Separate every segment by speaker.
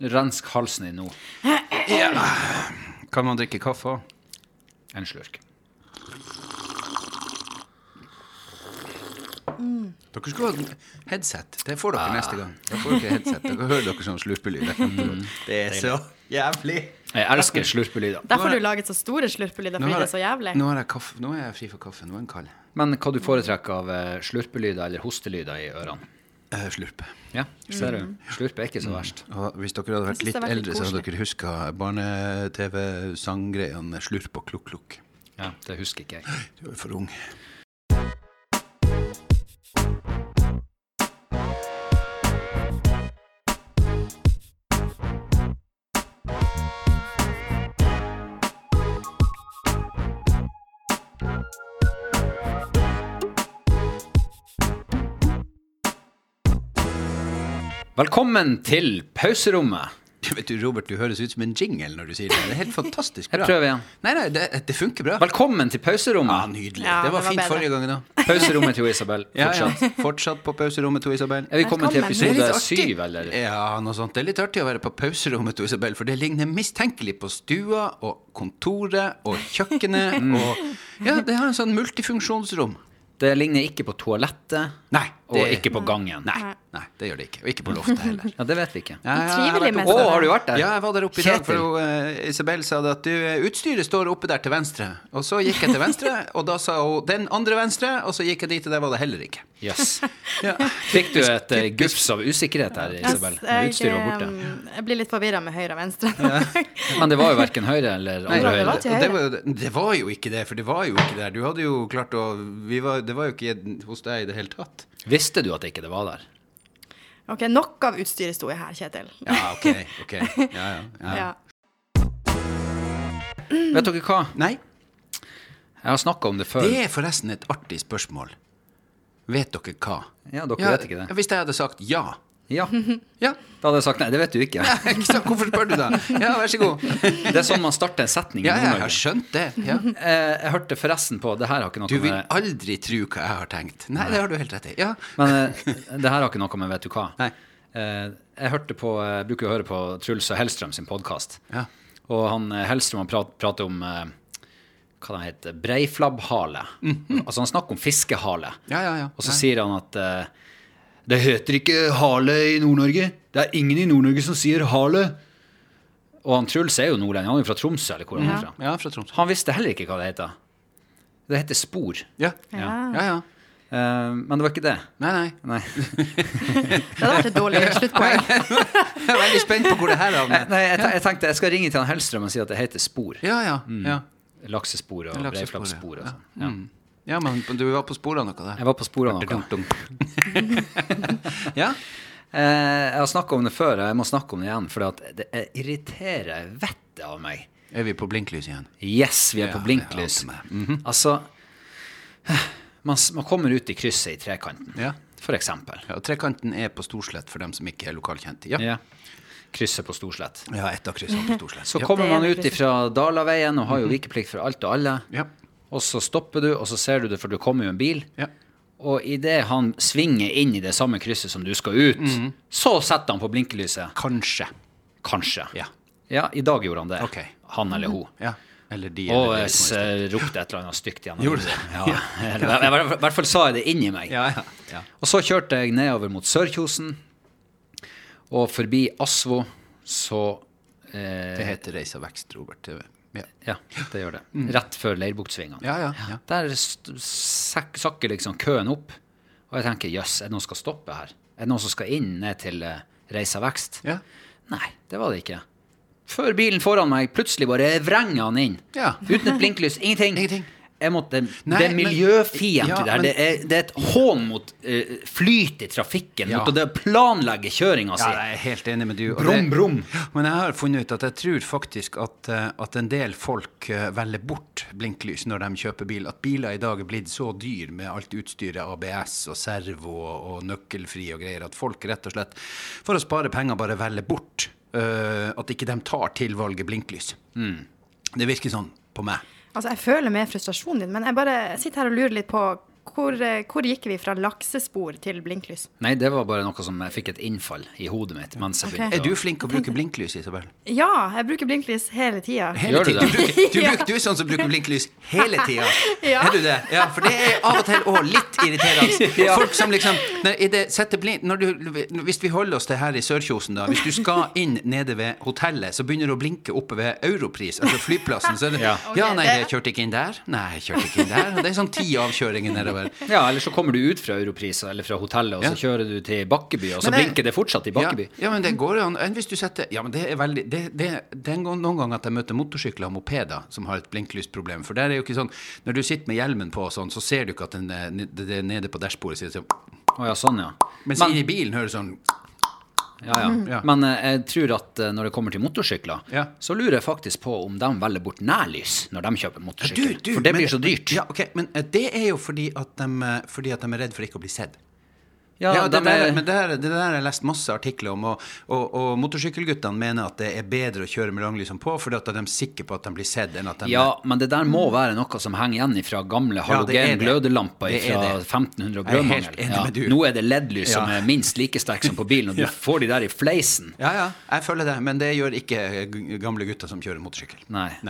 Speaker 1: Rensk halsen din nå.
Speaker 2: Kan man drikke kaffe òg?
Speaker 1: En slurk.
Speaker 2: Dere skulle ha headset. Det får dere neste gang. Da får dere headset. Dere hører dere sånn slurpelyder. Det er så jævlig.
Speaker 1: Jeg elsker slurpelyder.
Speaker 3: Derfor har du laget så store slurpelyder, fordi det er så jævlig.
Speaker 2: nå har jeg kaffe. Nå er jeg fri for kaffe. Nå er den kald.
Speaker 1: Men hva du foretrekker av eh, slurpelyder eller hostelyder i ørene?
Speaker 2: Eh, slurp.
Speaker 1: Ja, ser
Speaker 2: Mm.
Speaker 1: du. Slurp er ikke så verst.
Speaker 2: Og hvis dere hadde vært
Speaker 3: Jeg
Speaker 2: litt
Speaker 3: synes det har vært litt
Speaker 2: eldre, så hadde
Speaker 3: koselig.
Speaker 2: dere huska barne-TV-sanggreiene Slurp og Klukk-Klukk.
Speaker 1: Ja, Det husker ikke jeg.
Speaker 2: Du er for ung.
Speaker 1: Velkommen til pauserommet.
Speaker 2: Vet du, Robert, du høres ut som en jingle når du sier det. Det er helt fantastisk
Speaker 1: Jeg
Speaker 2: bra.
Speaker 1: prøver igjen.
Speaker 2: Nei, nei, det, det funker bra.
Speaker 1: Velkommen til
Speaker 2: Ja,
Speaker 1: pauserommet.
Speaker 2: nydelig.
Speaker 3: Ja,
Speaker 2: det var,
Speaker 3: det var
Speaker 2: fint
Speaker 3: bedre.
Speaker 2: forrige gangen òg.
Speaker 1: Pauserommet til Isabel.
Speaker 2: Ja, ja.
Speaker 1: Fortsatt.
Speaker 2: Fortsatt på pauserommet to, Isabel.
Speaker 1: Er vi kommet til
Speaker 3: Velkommen.
Speaker 2: Det er litt
Speaker 1: episode
Speaker 2: artig.
Speaker 1: syv, eller?
Speaker 2: Ja, noe sånt. Det er litt artig å være på pauserommet til Isabel, for det ligner mistenkelig på stua og kontoret og kjøkkenet
Speaker 1: Mm.
Speaker 2: og Ja, det har en sånn multifunksjonsrom.
Speaker 1: Det ligner ikke på toalettet.
Speaker 2: Nei,
Speaker 1: Og
Speaker 2: det-
Speaker 1: ikke på gangen.
Speaker 2: Nei, nei, det gjør det ikke. Og ikke på loftet heller.
Speaker 1: Ja, det vet vi ikke.
Speaker 2: Ja, ja, jeg har
Speaker 3: Trivelig
Speaker 2: vært
Speaker 3: med
Speaker 1: Å,
Speaker 2: oppe-
Speaker 3: seg.
Speaker 1: har du vært der?
Speaker 2: Ja, jeg var der oppe i dag, for hun, eh, Isabel sa det at du, eh, utstyret står oppe der til venstre. Og så gikk jeg til venstre, og da sa hun den andre venstre, og så gikk jeg dit, og der var det heller ikke.
Speaker 1: Yes.
Speaker 2: Ja.
Speaker 1: Fikk du et eh, gufs av usikkerhet her, Isabel? Når
Speaker 3: Jeg,
Speaker 1: Utstyret var borte.
Speaker 3: um, jeg blir litt forvirra med høyre og venstre.
Speaker 1: Men det var jo verken høyre eller andre
Speaker 2: Nei,
Speaker 3: det
Speaker 1: høyre.
Speaker 3: var
Speaker 2: og
Speaker 3: til
Speaker 2: det,
Speaker 3: høyre.
Speaker 2: var, jo- det var jo ikke det, for det var jo ikke der. Du hadde jo klart å vi var, Det var jo ikke hos deg i det hele tatt.
Speaker 1: Visste du at det ikke det var der?
Speaker 3: Ok, Nok av utstyret sto jeg her, Kjetil.
Speaker 2: Ja, ok. ok. Ja, ja, ja.
Speaker 3: Ja.
Speaker 1: Vet dere hva?
Speaker 2: Nei,
Speaker 1: Jeg har snakka om det før.
Speaker 2: det er forresten et artig spørsmål. Vet dere hva?
Speaker 1: Ja, dere vet ikke det.
Speaker 2: Hvis jeg hadde sagt ja
Speaker 1: Ja. Da
Speaker 2: Ja,
Speaker 1: hadde jeg sagt nei, det vet du ikke.
Speaker 2: ikke sant? Hvorfor spør du da? Ja, vær så god.
Speaker 1: Det er sånn man starter en setning i
Speaker 2: Ja, jeg har
Speaker 1: Nord-Norge.
Speaker 2: skjønt det. Ja.
Speaker 1: Eh, Jeg hørte forresten på Det her har ikke
Speaker 2: Du
Speaker 1: noe
Speaker 2: vil
Speaker 1: med
Speaker 2: aldri tro hva jeg har tenkt. Nei, det har du helt rett i. Ja.
Speaker 1: Men eh, det her har ikke noe med vet du hva.
Speaker 2: Nei.
Speaker 1: Eh, Jeg hørte på, eh, jeg bruker å høre på Truls og Hellstrøm sin podkast.
Speaker 2: Ja.
Speaker 1: Og han eh, Hellstrøm han prat, prater om eh, hva den heter, breiflabbhale.
Speaker 2: Mm.
Speaker 1: Altså han snakker om fiskehale.
Speaker 2: Ja, ja, ja.
Speaker 1: Og så
Speaker 2: Nei.
Speaker 1: sier han at eh, det heter ikke hale i Nord-Norge. Det er ingen i Nord-Norge som sier hale. Og han Truls er jo nordlending. Han er jo fra Tromsø, eller hvor han er fra.
Speaker 2: Ja, fra Tromsø.
Speaker 1: Han visste heller ikke hva det heter. Det heter spor.
Speaker 2: Ja. ja,
Speaker 3: Ja.
Speaker 2: ja.
Speaker 1: Eh, men det var ikke det.
Speaker 2: Nei, nei.
Speaker 1: Nei.
Speaker 3: Det hadde vært et dårlig sluttpoeng.
Speaker 2: Jeg er veldig spent på hvor det her havner.
Speaker 1: Eh, Nei, jeg, te- jeg tenkte jeg skal ringe til han Hellstrøm og si at det heter spor.
Speaker 2: Ja, ja, ja.
Speaker 1: Laksespor og
Speaker 2: Laksespor, ja.
Speaker 1: breiflabbspor og sånn. Ja.
Speaker 2: Mm. Ja, men du var på sporet av noe der.
Speaker 1: Jeg var på sporet av noe.
Speaker 2: Ja.
Speaker 1: Eh, jeg har snakka om det før, og jeg må snakke om det igjen, for at det eh, irriterer vettet av meg.
Speaker 2: Er vi på blinklys igjen?
Speaker 1: Yes, vi er
Speaker 2: Ja, Mhm.
Speaker 1: på
Speaker 2: det
Speaker 1: blinklys.
Speaker 2: ante
Speaker 1: Altså man, s- man kommer ut i krysset i trekanten,
Speaker 2: Ja.
Speaker 1: for eksempel.
Speaker 2: ja. Trekanten er på Storslett, for dem som ikke er lokalkjent. Ja,
Speaker 1: Ja. Krysset på Storslett.
Speaker 2: ja ett av kryssene på Storslett.
Speaker 1: Så
Speaker 2: Ja. Mhm.
Speaker 1: kommer
Speaker 3: Det er
Speaker 1: man
Speaker 3: det
Speaker 1: ut
Speaker 3: krysset.
Speaker 1: fra Dalaveien og har jo vikeplikt for alt og alle.
Speaker 2: Ja.
Speaker 1: Og så stopper du, og så ser du det, for det kommer jo en bil.
Speaker 2: Ja.
Speaker 1: Og idet han svinger inn i det samme krysset som du skal ut,
Speaker 2: Mhm.
Speaker 1: så setter han på blinkelyset.
Speaker 2: Kanskje.
Speaker 1: Kanskje.
Speaker 2: Ja.
Speaker 1: Ja, i dag gjorde han det.
Speaker 2: Ok.
Speaker 1: Han eller hun.
Speaker 2: Ja. eh, Eller de
Speaker 1: Og
Speaker 2: eller de
Speaker 1: jeg
Speaker 2: som er-
Speaker 1: s- ropte et eller annet stygt gjennom
Speaker 2: Gjorde du det?
Speaker 1: Ja. Eller, I hvert- i hvert fall sa jeg det inni meg.
Speaker 2: Ja, ja. ja.
Speaker 1: Og så kjørte jeg nedover mot Sørkjosen, og forbi Asvo, så
Speaker 2: Det
Speaker 1: eh,
Speaker 2: heter Reis og vekst, Robert. Det- Ja.
Speaker 1: Ja, det gjør det. Rett før Leirbuktsvingene.
Speaker 2: Mm. Ja, ja, ja.
Speaker 1: Der st- sak- sakker liksom køen opp, og jeg tenker jøss, er det noen som skal stoppe her? Er det noen som skal inn ned til eh, Reisa Vekst?
Speaker 2: Ja.
Speaker 1: Nei, det var det ikke. Før bilen foran meg plutselig bare vrenger han inn.
Speaker 2: Ja.
Speaker 1: Uten et blinklys, ingenting.
Speaker 2: Ingenting.
Speaker 1: Jeg måtte,
Speaker 2: Nei,
Speaker 1: det er
Speaker 2: men-
Speaker 1: miljøfiendtlig,
Speaker 2: Ja,
Speaker 1: det her.
Speaker 2: men-
Speaker 1: Det er, det er et hån mot eh, flyt i trafikken.
Speaker 2: Ja.
Speaker 1: Mot det å planlegge kjøringa si.
Speaker 2: Ja, jeg er helt enig med du. og
Speaker 1: Brum,
Speaker 2: det-
Speaker 1: brum.
Speaker 2: Men jeg har funnet ut at jeg tror faktisk at, eh, at en del folk eh, velger bort blinklys når de kjøper bil. At biler i dag er blitt så dyr med alt utstyret ABS og servo og nøkkelfri og greier, at folk rett og slett, for å spare penger, bare velger bort. eh, at ikke de tar til valget blinklys. Det virker sånn på meg.
Speaker 3: Altså, jeg føler med frustrasjonen din, men jeg bare sitter her og lurer litt på hvor, eh, hvor gikk vi fra laksespor til blinklys?
Speaker 1: Nei, det var bare noe som jeg fikk et innfall i hodet mitt mens jeg
Speaker 3: Ok.
Speaker 1: begynte.
Speaker 2: Er du flink til å bruke blinklys, Isabel?
Speaker 3: Ja, jeg bruker blinklys hele tida.
Speaker 1: Gjør du
Speaker 2: tiden.
Speaker 1: det?
Speaker 2: Du, bruker, du,
Speaker 3: Ja.
Speaker 2: bruker, du er sånn som bruker blinklys hele tida.
Speaker 3: Ja.
Speaker 2: Er du det? Ja, for det er av og til òg litt irriterende. Folk som liksom når, i det, setter blind, når du, Hvis vi holder oss til her i Sørkjosen, da. Hvis du skal inn nede ved hotellet, så begynner du å blinke oppe ved Europris, altså flyplassen. Så er det,
Speaker 1: Ja.
Speaker 2: ja.
Speaker 3: Ok,
Speaker 2: nei,
Speaker 3: det-
Speaker 2: jeg kjørte ikke inn der. Nei, jeg kjørte ikke inn der. Det er sånn ti avkjøringer nedover.
Speaker 1: Ja, eller så kommer du ut fra Europrisa eller fra hotellet, og så
Speaker 2: Ja.
Speaker 1: kjører du til Bakkeby, og så
Speaker 2: Men jeg-
Speaker 1: blinker det fortsatt i Bakkeby.
Speaker 2: Ja, ja, men det går jo an. Enn hvis du setter Ja, men det er veldig det, det, det er en gang- noen ganger at jeg møter motorsykler og mopeder som har et blinklysproblem. For der er jo ikke sånn Når du sitter med hjelmen på og sånn, så ser du ikke at den, eh, ne- det det er nede på dashbordet sier sånn
Speaker 1: Å ja, sånn, ja.
Speaker 2: Mens
Speaker 1: Men-
Speaker 2: inne i bilen hører du sånn
Speaker 1: Ja, ja.
Speaker 2: Ja.
Speaker 1: Men eh, jeg tror at eh, når det kommer til motorsykler,
Speaker 2: Ja.
Speaker 1: så lurer jeg faktisk på om de velger bort nærlys når de kjøper motorsykkel.
Speaker 2: Ah, Du, du,
Speaker 1: for det
Speaker 2: men-
Speaker 1: blir så dyrt.
Speaker 2: Ja, ok, men eh, det er jo fordi at de, eh, fordi at de er redd for ikke å bli sett.
Speaker 1: Ja,
Speaker 2: Ja, det
Speaker 1: de er-
Speaker 2: der, men det, der, det der har jeg lest masse artikler om, og, og, og motorsykkelguttene mener at det er bedre å kjøre med langlysene på, fordi at de er sikre på at de blir sett, enn at de
Speaker 1: ja, men det der må være noe som henger igjen fra gamle
Speaker 2: Mm. Ja, det er
Speaker 1: halogen
Speaker 2: det.
Speaker 1: glødelamper
Speaker 2: Det er
Speaker 1: fra
Speaker 2: det.
Speaker 1: 1500 og
Speaker 2: Jeg er
Speaker 1: brødmangel.
Speaker 2: helt enig med du.
Speaker 1: Nå er det LED-lys som
Speaker 2: Ja.
Speaker 1: er minst like sterk som på bilen, og du får de der i fleisen.
Speaker 2: Ja, ja, jeg føler det, men det gjør ikke g- gamle gutter som kjører motorsykkel.
Speaker 1: Nei.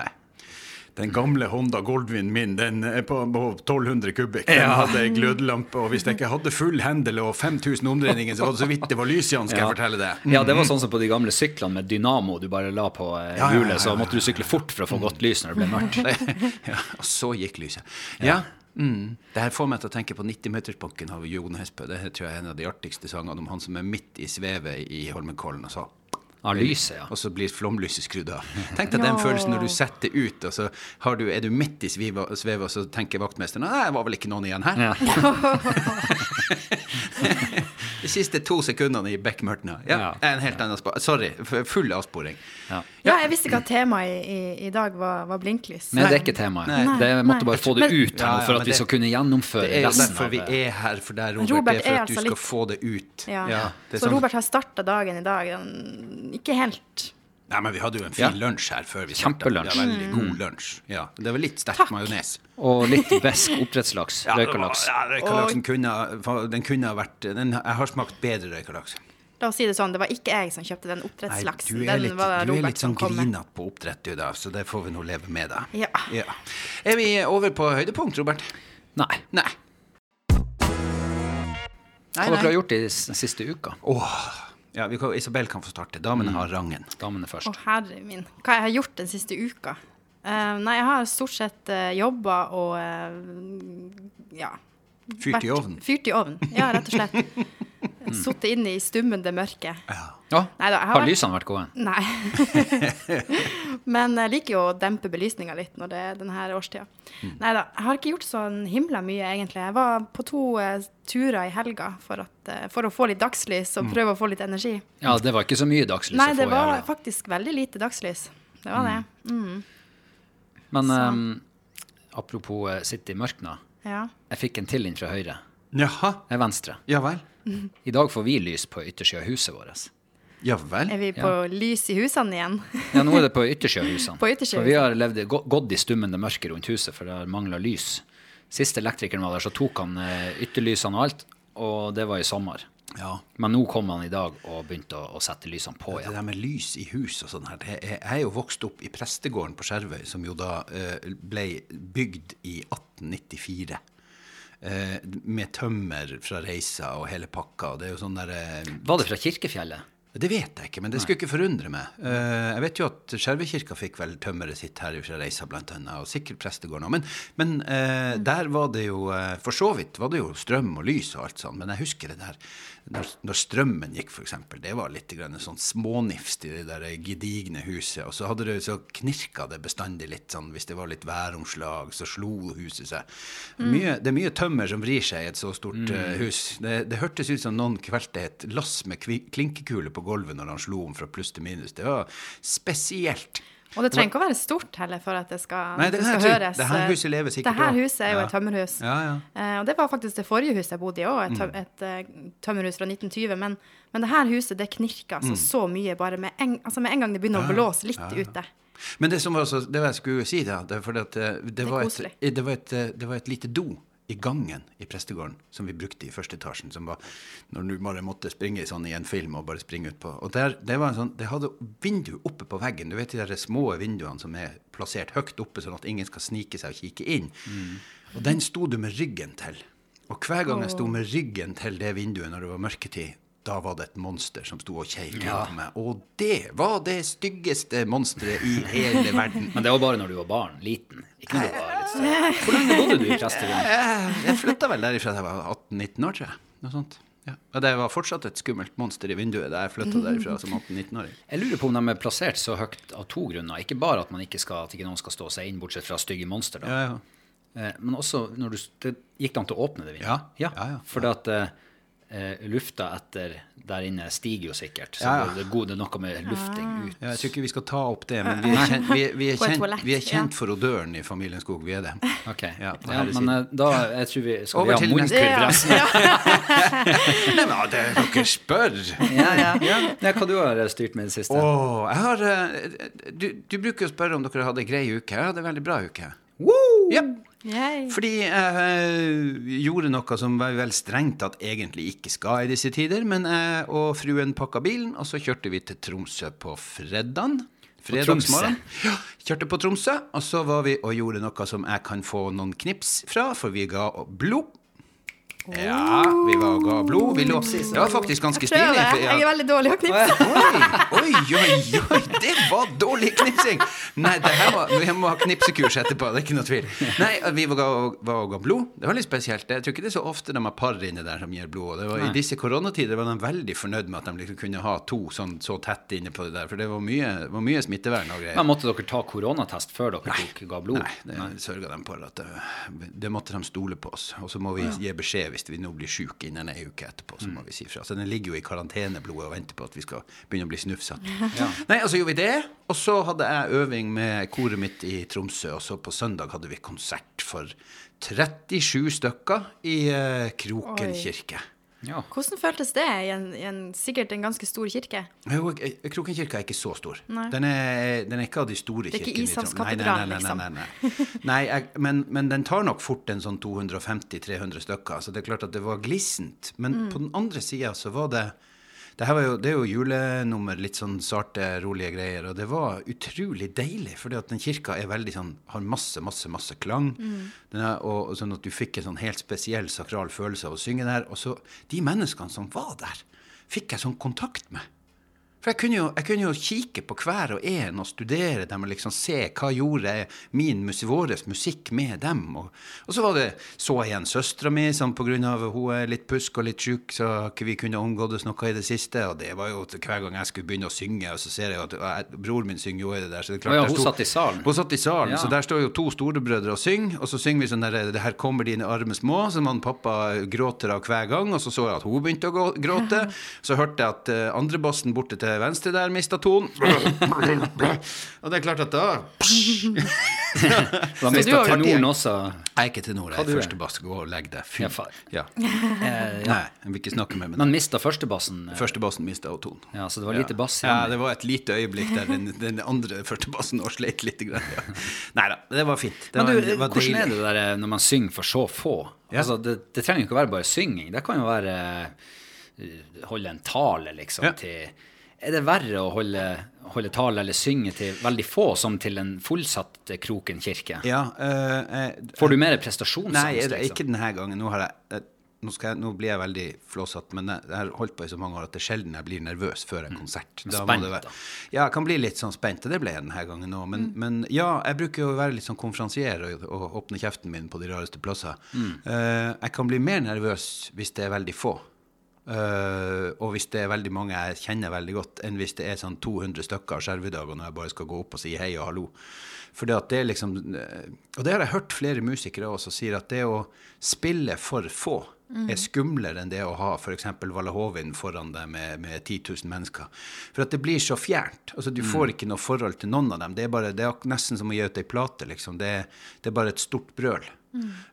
Speaker 2: Den gamle Honda Goldwyn min den er på, på 1200 kubikk. Den
Speaker 1: Ja.
Speaker 2: hadde ei glødelampe, og hvis jeg ikke hadde full hendel og 5000 omdreininger, så var det så vidt det var lys i den, skal jeg fortelle deg.
Speaker 1: Ja, det var sånn som på de gamle syklene med dynamo du bare la på eh,
Speaker 2: Mm-hmm. Ja, ja, ja,
Speaker 1: hjulet, så
Speaker 2: ja, Mm. ja,
Speaker 1: måtte du sykle fort for å få godt lys når det ble mørkt.
Speaker 2: ja, og så gikk lyset. Ja. Mm. Det her får meg til å tenke på 90-metersbakken av Jon Hespø. Det tror jeg er en av de artigste sangene om han som er midt i svevet i Holmenkollen. Og så,
Speaker 1: Av lyset, ja.
Speaker 2: og så blir flomlyset skrudd av. Tenk deg den
Speaker 3: Ja.
Speaker 2: følelsen når du setter ut, og så har du, er du midt i sviva- svevet, og så tenker vaktmesteren at det var vel ikke noen igjen her.
Speaker 1: Ja.
Speaker 2: De siste to sekundene i Beckmørtna. Ja,
Speaker 1: Ja.
Speaker 2: er En helt annen spa- Sorry, f- full avsporing.
Speaker 1: Ja.
Speaker 3: Ja, jeg visste ikke at temaet i, i, i dag var, var blinklys.
Speaker 1: Men det er ikke temaet.
Speaker 3: Nei.
Speaker 1: Det
Speaker 3: Nei.
Speaker 1: måtte bare få det
Speaker 3: Men-
Speaker 1: ut her
Speaker 2: Ja,
Speaker 1: nå
Speaker 2: ja,
Speaker 1: for
Speaker 2: men
Speaker 1: at vi
Speaker 2: det-
Speaker 1: skal kunne gjennomføre
Speaker 2: Det er jo
Speaker 1: resten
Speaker 2: derfor
Speaker 1: av
Speaker 2: vi
Speaker 1: det.
Speaker 2: er her for deg, Robert.
Speaker 3: Robert
Speaker 2: det er for at
Speaker 3: er
Speaker 2: du
Speaker 3: altså
Speaker 2: skal
Speaker 3: litt-
Speaker 2: få det ut.
Speaker 3: Ja.
Speaker 2: det er
Speaker 3: så
Speaker 2: sånn-
Speaker 3: Robert har starta dagen i dag den, ikke helt
Speaker 2: Nei, men vi hadde jo en fin
Speaker 1: Ja.
Speaker 2: lunsj her før vi startet.
Speaker 1: Kjempelunsj.
Speaker 2: Ja, veldig god lunsj. Ja, det var litt
Speaker 3: Mm. Takk.
Speaker 2: sterk majones.
Speaker 1: Og litt besk oppdrettslaks.
Speaker 2: Ja, det var-
Speaker 1: Røykalaks.
Speaker 2: Ja, røykalaksen kunne, den kunne ha vært den, Jeg har smakt bedre røykalaks.
Speaker 3: La oss si det sånn, det var ikke jeg som kjøpte den
Speaker 2: Nei,
Speaker 3: oppdrettslaksen.
Speaker 2: du er
Speaker 3: den
Speaker 2: litt,
Speaker 3: var det
Speaker 2: du er
Speaker 3: Robert
Speaker 2: litt
Speaker 3: som
Speaker 2: sånn
Speaker 3: kom med.
Speaker 2: grinete på oppdrett, du, da, så det får vi nå leve med, da.
Speaker 3: Ja.
Speaker 2: Er vi over på høydepunkt, Robert?
Speaker 1: Nei.
Speaker 2: Nei.
Speaker 1: Hva dere har gjort i s- siste uka?
Speaker 2: Åh. Ja, vi kan, Isabel kan få starte. Damene
Speaker 3: Mm.
Speaker 2: har rangen.
Speaker 1: Damene
Speaker 3: Å,
Speaker 1: først.
Speaker 3: herre min. Hva jeg har gjort den siste uka? Eh, nei, jeg har stort sett uh, jobba og eh, ja.
Speaker 2: Fyrt i
Speaker 3: vært-
Speaker 2: ovnen.
Speaker 3: Fyrt i ovnen, ja, rett og slett. Sittet inne i stummende mørke.
Speaker 2: Ja.
Speaker 1: Ja.
Speaker 3: Neida, jeg har
Speaker 1: Har
Speaker 3: vært-
Speaker 1: lysene vært gode?
Speaker 3: Nei. Men jeg liker jo å dempe belysninga litt når det er denne årstida.
Speaker 2: Mm.
Speaker 3: Nei da, jeg har ikke gjort sånn himla mye, egentlig. Jeg var på to eh, turer i helga for, at, eh, for å få litt dagslys
Speaker 2: Mm.
Speaker 3: og prøve å få litt energi.
Speaker 1: Ja, det var ikke så mye dagslys
Speaker 3: Nei,
Speaker 1: å få
Speaker 3: det
Speaker 1: i
Speaker 3: var
Speaker 1: helga.
Speaker 3: faktisk veldig lite dagslys. Det var det. Mm.
Speaker 1: Men ehm, apropos eh, sitte i mørkna.
Speaker 3: Ja.
Speaker 1: Jeg fikk en til inn fra høyre.
Speaker 2: Jaha.
Speaker 1: Nei, venstre.
Speaker 2: Ja vel.
Speaker 1: I dag får vi lys på yttersida av huset vårt.
Speaker 2: Ja vel.
Speaker 3: Er vi på lys i husene igjen?
Speaker 1: Ja, nå er det på yttersida av husene.
Speaker 3: På yttersida av
Speaker 1: For vi har levd, gå- gått i stummende mørke rundt huset, for det har mangla lys. Siste elektrikeren var der, så tok han eh, ytterlysene og alt, og det var i sommer.
Speaker 2: Ja.
Speaker 1: Men nå kom han i dag og begynte å, å sette lysene på
Speaker 2: Det
Speaker 1: igjen.
Speaker 2: der med lys i hus og sånn her, det er, jeg er jo vokst opp i prestegården på Skjervøy, som jo da eh, ble bygd i 1894. eh, med tømmer fra Reisa og hele pakka. og Det er jo sånn der eh,
Speaker 1: Var det fra Kirkefjellet?
Speaker 2: Det vet jeg ikke, men det skulle ikke forundre meg. Eh, jeg vet jo at Skjervøykirka fikk vel tømmeret sitt her fra Reisa, blant annet, og sikkert prestegården òg. Men, men eh, der var det jo eh, For så vidt var det jo strøm og lys og alt sånn, men jeg husker det der når, når strømmen gikk, f.eks. Det var litt grann sånn smånifst i det der gedigne huset. Og så, hadde det, så knirka det bestandig litt sånn hvis det var litt væromslag, så slo huset seg. Mye, det er mye tømmer som vrir seg i et så stort eh, hus. Det, det hørtes ut som noen kvelte et lass med kvi- klinkekuler på gulvet når han slo om fra pluss til minus. Det var spesielt.
Speaker 3: Og det trenger ikke å være stort heller for at det skal,
Speaker 2: Nei, det kan
Speaker 3: skal
Speaker 2: jeg tro.
Speaker 3: høres. eh,
Speaker 2: Det her huset lever sikkert
Speaker 3: Det her
Speaker 2: også.
Speaker 3: huset er jo
Speaker 2: Ja.
Speaker 3: et tømmerhus.
Speaker 2: Ja, ja.
Speaker 3: Eh, og det var faktisk det forrige huset jeg bodde i òg, et, tøm
Speaker 2: Mm.
Speaker 3: et eh, tømmerhus fra 1920. Men, men det her huset det knirker altså
Speaker 2: Mm.
Speaker 3: så mye bare med en, altså med en gang det begynner å blåse litt ute.
Speaker 2: Men det som var så, det var jeg skulle si, da, det, er fordi at eh, det, var et,
Speaker 3: koselig.
Speaker 2: det, var et, eh, det var et lite do i gangen i prestegården som vi brukte i første etasjen. Som var når du bare måtte springe sånn i en film og bare springe utpå. Og der, det var en sånn, det hadde vindu oppe på veggen. Du vet de der små vinduene som er plassert høyt oppe, sånn at ingen skal snike seg og kikke inn. Og den sto du med ryggen til. Og hver gang jeg sto med ryggen til det vinduet når det var mørketid, da var det et monster som sto og kjekket på meg. Og det var det styggeste monsteret i hele verden.
Speaker 1: Men det var bare når du var barn, liten. Ikke når du var litt større. Hvor lenge bodde du i Prestevin?
Speaker 2: Eh, Jeg flytta vel derifra da jeg var 18-19 år, tror jeg. Noe sånt. Ja. Og det var fortsatt et skummelt monster i vinduet da jeg flytta derifra som 18-19-åring.
Speaker 1: Jeg lurer på om de er plassert så høyt av to grunner. Ikke bare at, man ikke skal, at ikke noen skal stå seg inn, bortsett fra stygge monster. Da.
Speaker 2: Ja, ja.
Speaker 1: Eh, Men også når du det, Gikk det an til å åpne det vinduet?
Speaker 2: Ja. Ja, ja.
Speaker 1: Fordi at eh, eh, lufta etter der inne stiger jo sikkert. Så
Speaker 2: Ja, ja.
Speaker 1: Det, er god, det er noe med lufting ut.
Speaker 2: Ja, jeg tror ikke vi skal ta opp det, men vi er kjent, vi er, vi er
Speaker 3: På et
Speaker 2: kjent,
Speaker 3: toalett,
Speaker 2: vi er
Speaker 3: ja.
Speaker 2: kjent for odøren i familien Skog. Vi er det.
Speaker 1: Ok.
Speaker 2: Ja,
Speaker 1: Ja,
Speaker 2: på herresiden.
Speaker 1: men eh, da jeg tror vi skal
Speaker 2: Over
Speaker 1: vi ha
Speaker 2: til neste.
Speaker 1: morgenkurv
Speaker 3: Ja.
Speaker 1: resten.
Speaker 2: Nei, men det dere spør!
Speaker 1: Ja, ja. Ja, hva du har eh, styrt med i det siste?
Speaker 2: Åh, jeg har, eh, du, du bruker å spørre om dere hadde ei grei uke. Jeg hadde en veldig bra uke. Ja.
Speaker 3: Yay.
Speaker 2: Fordi jeg eh, gjorde noe som var vel strengt tatt egentlig ikke skal i disse tider, men jeg og fruen pakka bilen, og så kjørte vi til Tromsø på fredagen. Fredagsmorgen. Ja, kjørte på Tromsø, og så var vi og gjorde noe som jeg kan få noen knips fra, for vi ga blod. Ja, vi var og ga blod. Vi lå Det var faktisk ganske
Speaker 3: Prøv
Speaker 2: stilig.
Speaker 3: det.
Speaker 2: for- ja.
Speaker 3: Oh. Jeg er veldig dårlig å knipse.
Speaker 2: Oi, oi, oi, oi, det var dårlig knipsing! Nei, det her må, vi må ha knipsekurs etterpå, det er ikke noe tvil. Nei, vi var, var og ga blod. Det var litt spesielt. Jeg tror ikke det er så ofte de har par inne der som gir blod. Og det var, I disse koronatider var de veldig fornøyd med at de liksom kunne ha to sånn så tett inne på det der, for det var mye, var mye smittevern og greier.
Speaker 1: Men måtte dere ta koronatest før dere tok, ga blod?
Speaker 2: Nei, det sørga de for at det, det måtte de stole på oss. Og så må vi gi beskjed hvis vi nå blir syke innen ei uke etterpå. Så må vi si fra. Så den ligger jo i karanteneblodet og venter på at vi skal begynne å bli snufsete. Nei, og så gjorde vi det. Og så hadde jeg øving med koret mitt i Tromsø, og så på søndag hadde vi konsert for 37 stykker i eh, Kroken
Speaker 3: Oi.
Speaker 2: kirke.
Speaker 1: Ja.
Speaker 3: Hvordan føltes det i en, i en sikkert en ganske stor kirke?
Speaker 2: Jo, eh, Kroken kirke er ikke så stor.
Speaker 3: Nei.
Speaker 2: Den, er, den er ikke av de store
Speaker 3: Det er
Speaker 2: kirkene.
Speaker 3: ikke liksom.
Speaker 2: i Trondheim. Nei,
Speaker 3: Islands katedral,
Speaker 2: nei, nei, nei, nei, nei. Nei, jeg, men, men den tar nok fort en sånn 250-300 stykker. Så det er klart at det var glissent. Men
Speaker 3: Mm.
Speaker 2: på den andre sida så var det det, her var jo, det er jo julenummer, litt sånn sarte, rolige greier. Og det var utrolig deilig, fordi at den kirka er veldig sånn, har masse, masse masse klang.
Speaker 3: Mm.
Speaker 2: Den er, og, og sånn at du fikk en sånn helt spesiell sakral følelse av å synge der. Og så de menneskene som var der, fikk jeg sånn kontakt med. For jeg kunne, jo, jeg kunne jo kikke på hver og en og studere dem og liksom se hva gjorde min musikk, vår musikk med dem. Og, og så var det, så jeg igjen søstera mi, som pga. hun er litt pusk og litt sjuk, så har ikke vi kunne omgåttes noe i det siste. Og det var jo at hver gang jeg skulle begynne å synge, og så ser jeg jo at og jeg, broren min synger jo i det der. Så det er klart,
Speaker 1: Å ja,
Speaker 2: der
Speaker 1: hun
Speaker 2: sto-
Speaker 1: satt i salen.
Speaker 2: Hun satt i salen,
Speaker 1: Ja.
Speaker 2: så der står jo to storebrødre og synger, og så synger vi sånn der 'Det her kommer dine arme små', som han pappa gråter av hver gang, og så så jeg at hun begynte å gå- gråte. Så hørte jeg at eh, andrebossen borte til venstre der mista tonen. Og det er klart at da
Speaker 1: Da
Speaker 2: Så du
Speaker 1: mista
Speaker 2: har jo-
Speaker 1: tenoren også
Speaker 2: Jeg er ikke tenor, jeg
Speaker 1: Hva du
Speaker 2: er
Speaker 1: er?
Speaker 2: førstebass. Gå og legg deg. Fy.
Speaker 1: Ja, faen.
Speaker 2: Ja. Nei, jeg vil ikke snakke mer med deg.
Speaker 1: Men mista førstebassen. eh,
Speaker 2: Førstebassen mista jo tonen.
Speaker 1: Ja, så det var lite bass igjen.
Speaker 2: Ja, det var et lite øyeblikk der den, den andre førstebassen og sleit litt. Grann, ja. Nei da, det var fint. Det
Speaker 1: Men du,
Speaker 2: var, det var
Speaker 1: hvordan
Speaker 2: deilig.
Speaker 1: er det der eh, når man synger for så få?
Speaker 2: Ja.
Speaker 1: Altså, det, det trenger jo ikke å være bare synging. Det kan jo være eh, holde en tale, liksom,
Speaker 2: Ja.
Speaker 1: til Er det verre å holde, holde tale eller synge til veldig få, som til en fullsatt eh, Kroken kirke?
Speaker 2: Ja, eh, eh,
Speaker 1: Får du mer prestasjonsangst?
Speaker 2: Nei, er det,
Speaker 1: liksom?
Speaker 2: ikke denne gangen. Nå, har jeg, eh, nå, skal jeg, nå blir jeg veldig flåsete, men jeg jeg har holdt på i så mange år at det er sjelden jeg blir nervøs før en konsert. Da må
Speaker 1: Mm. spent,
Speaker 2: det være-
Speaker 1: da.
Speaker 2: Ja, jeg kan bli litt sånn spent, og det ble jeg denne gangen òg. Men, men ja, jeg bruker jo å være litt sånn konferansier og, og åpne kjeften min på de rareste plasser. Eh, jeg kan bli mer nervøs hvis det er veldig få. Eh, og hvis det er veldig mange jeg kjenner veldig godt, enn hvis det er sånn 200 stykker av skjervedager når jeg bare skal gå opp og si hei og hallo. For det at det er liksom eh, Og det har jeg hørt flere musikere også sier, at det å spille for få er skumlere enn det å ha f.eks. Valle Hovin foran deg med, med 10 000 mennesker. For at det blir så fjernt. Altså, du får ikke noe forhold til noen av dem. Det er, bare, det er nesten som å gi ut ei plate, liksom. Det, er- det er bare et stort brøl.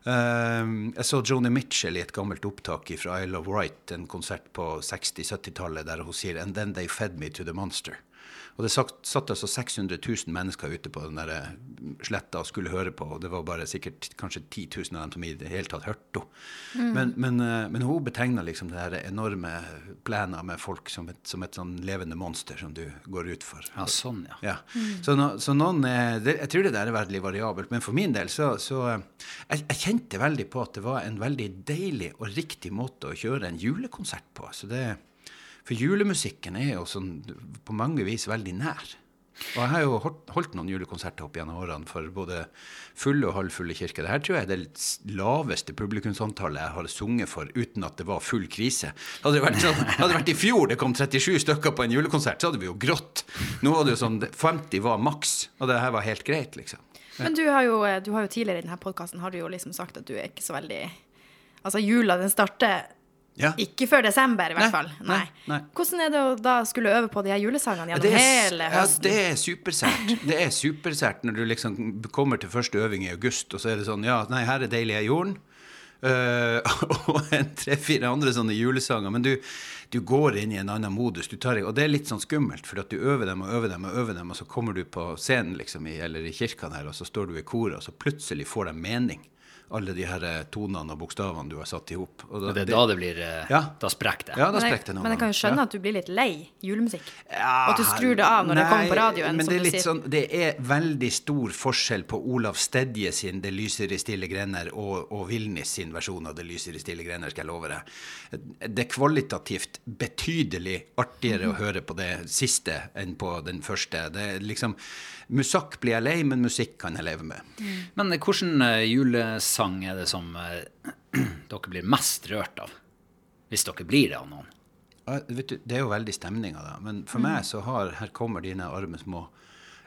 Speaker 2: Um, jeg så Joni Mitchell i et gammelt opptak fra Isle of Wight, en konsert på 60-70-tallet, der hun sier «And then they fed me to the monster». Og det satt, satt altså 600 000 mennesker ute på den der eh, sletta og skulle høre på, og det var bare sikkert kanskje 10 000 av dem som i det hele tatt hørte henne. Men, men, eh, men hun betegna liksom det her enorme plena med folk som et, som et sånn levende monster som du går ut for.
Speaker 1: Ja, sånn, ja.
Speaker 2: Ja. Så, no, så noen eh, det, Jeg tror det der er veldig variabelt. Men for min del så, så eh, jeg, jeg kjente veldig på at det var en veldig deilig og riktig måte å kjøre en julekonsert på. Så det, for julemusikken er jo sånn, på mange vis veldig nær. Og jeg har jo holdt, holdt noen julekonserter opp gjennom årene for både fulle og halvfulle kirker. Dette tror jeg er det s- laveste publikumsantallet jeg har sunget for uten at det var full krise. Hadde det vært, sånn, hadde det vært i fjor det kom 37 stykker på en julekonsert, så hadde vi jo grått. Nå var det jo sånn det- 50 var maks, og det her var helt greit, liksom.
Speaker 3: Men du har jo, eh, du har jo tidligere i denne podkasten liksom sagt at du er ikke så veldig Altså, jula den starter
Speaker 2: Ja.
Speaker 3: ikke før desember, i hvert
Speaker 2: Nei,
Speaker 3: fall.
Speaker 2: nei, nei.
Speaker 3: Hvordan er det å da skulle øve på de her julesangene gjennom
Speaker 2: Det er,
Speaker 3: hele
Speaker 2: ja,
Speaker 3: høsten?
Speaker 2: det er supersært. Det er supersært når du liksom kommer til første øving i august, og så er det sånn Ja, nei, her er deilige jorden. eh, og en tre-fire andre sånne julesanger. Men du, du går inn i en annen modus. Du tar, i- og det er litt sånn skummelt, for at du øver dem og øver dem, og øver dem, og så kommer du på scenen liksom, i, eller i kirken her, og så står du i koret, og så plutselig får de mening. Alle de her eh, tonene og bokstavene du har satt i hop.
Speaker 1: Og det er da det blir eh,
Speaker 2: Ja.
Speaker 1: Da sprekker det.
Speaker 2: ja, da
Speaker 3: men,
Speaker 2: sprekker
Speaker 3: jeg,
Speaker 2: det noen
Speaker 3: men jeg kan jo
Speaker 2: ganger. Ja.
Speaker 3: skjønne at du blir litt lei julemusikk.
Speaker 2: Ja,
Speaker 3: Og at du skrur det av når det kommer på radioen,
Speaker 2: Men
Speaker 3: som
Speaker 2: det er
Speaker 3: du
Speaker 2: litt
Speaker 3: sier.
Speaker 2: sånn, det er veldig stor forskjell på Olav Stedje sin 'Det lyser i stille grener' og, og Vilnis sin versjon av 'Det lyser i stille grener', skal jeg love deg. Det er kvalitativt betydelig artigere å
Speaker 3: Mhm.
Speaker 2: høre på det siste enn på den første. Det er liksom, Musikk blir jeg lei, men musikk kan jeg leve med.
Speaker 1: Men hvilken eh, julesang er det som eh, dere blir mest rørt av? Hvis dere blir det av noen.
Speaker 2: Ja, vet du, det er jo veldig stemninga, da. Men for meg så har 'Her kommer dine arme små'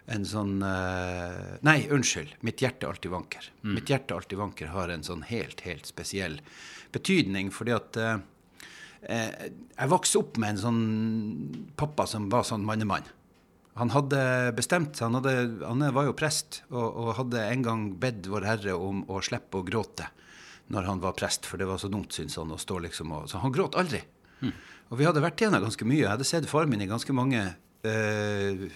Speaker 2: en sånn eh, Nei, unnskyld. 'Mitt hjerte alltid vanker'. 'Mitt hjerte alltid vanker' har en sånn helt, helt spesiell betydning, fordi at eh, eh, Jeg vokste opp med en sånn pappa som var sånn mannemann. Han hadde bestemt seg, han, hadde, han var jo prest, og, og hadde en gang bedt Vårherre om å slippe å gråte når han var prest, for det var så dumt, syntes han, å stå liksom og Så han gråt aldri. Og vi hadde vært igjennom ganske mye. Jeg hadde sett far min i ganske mange eh,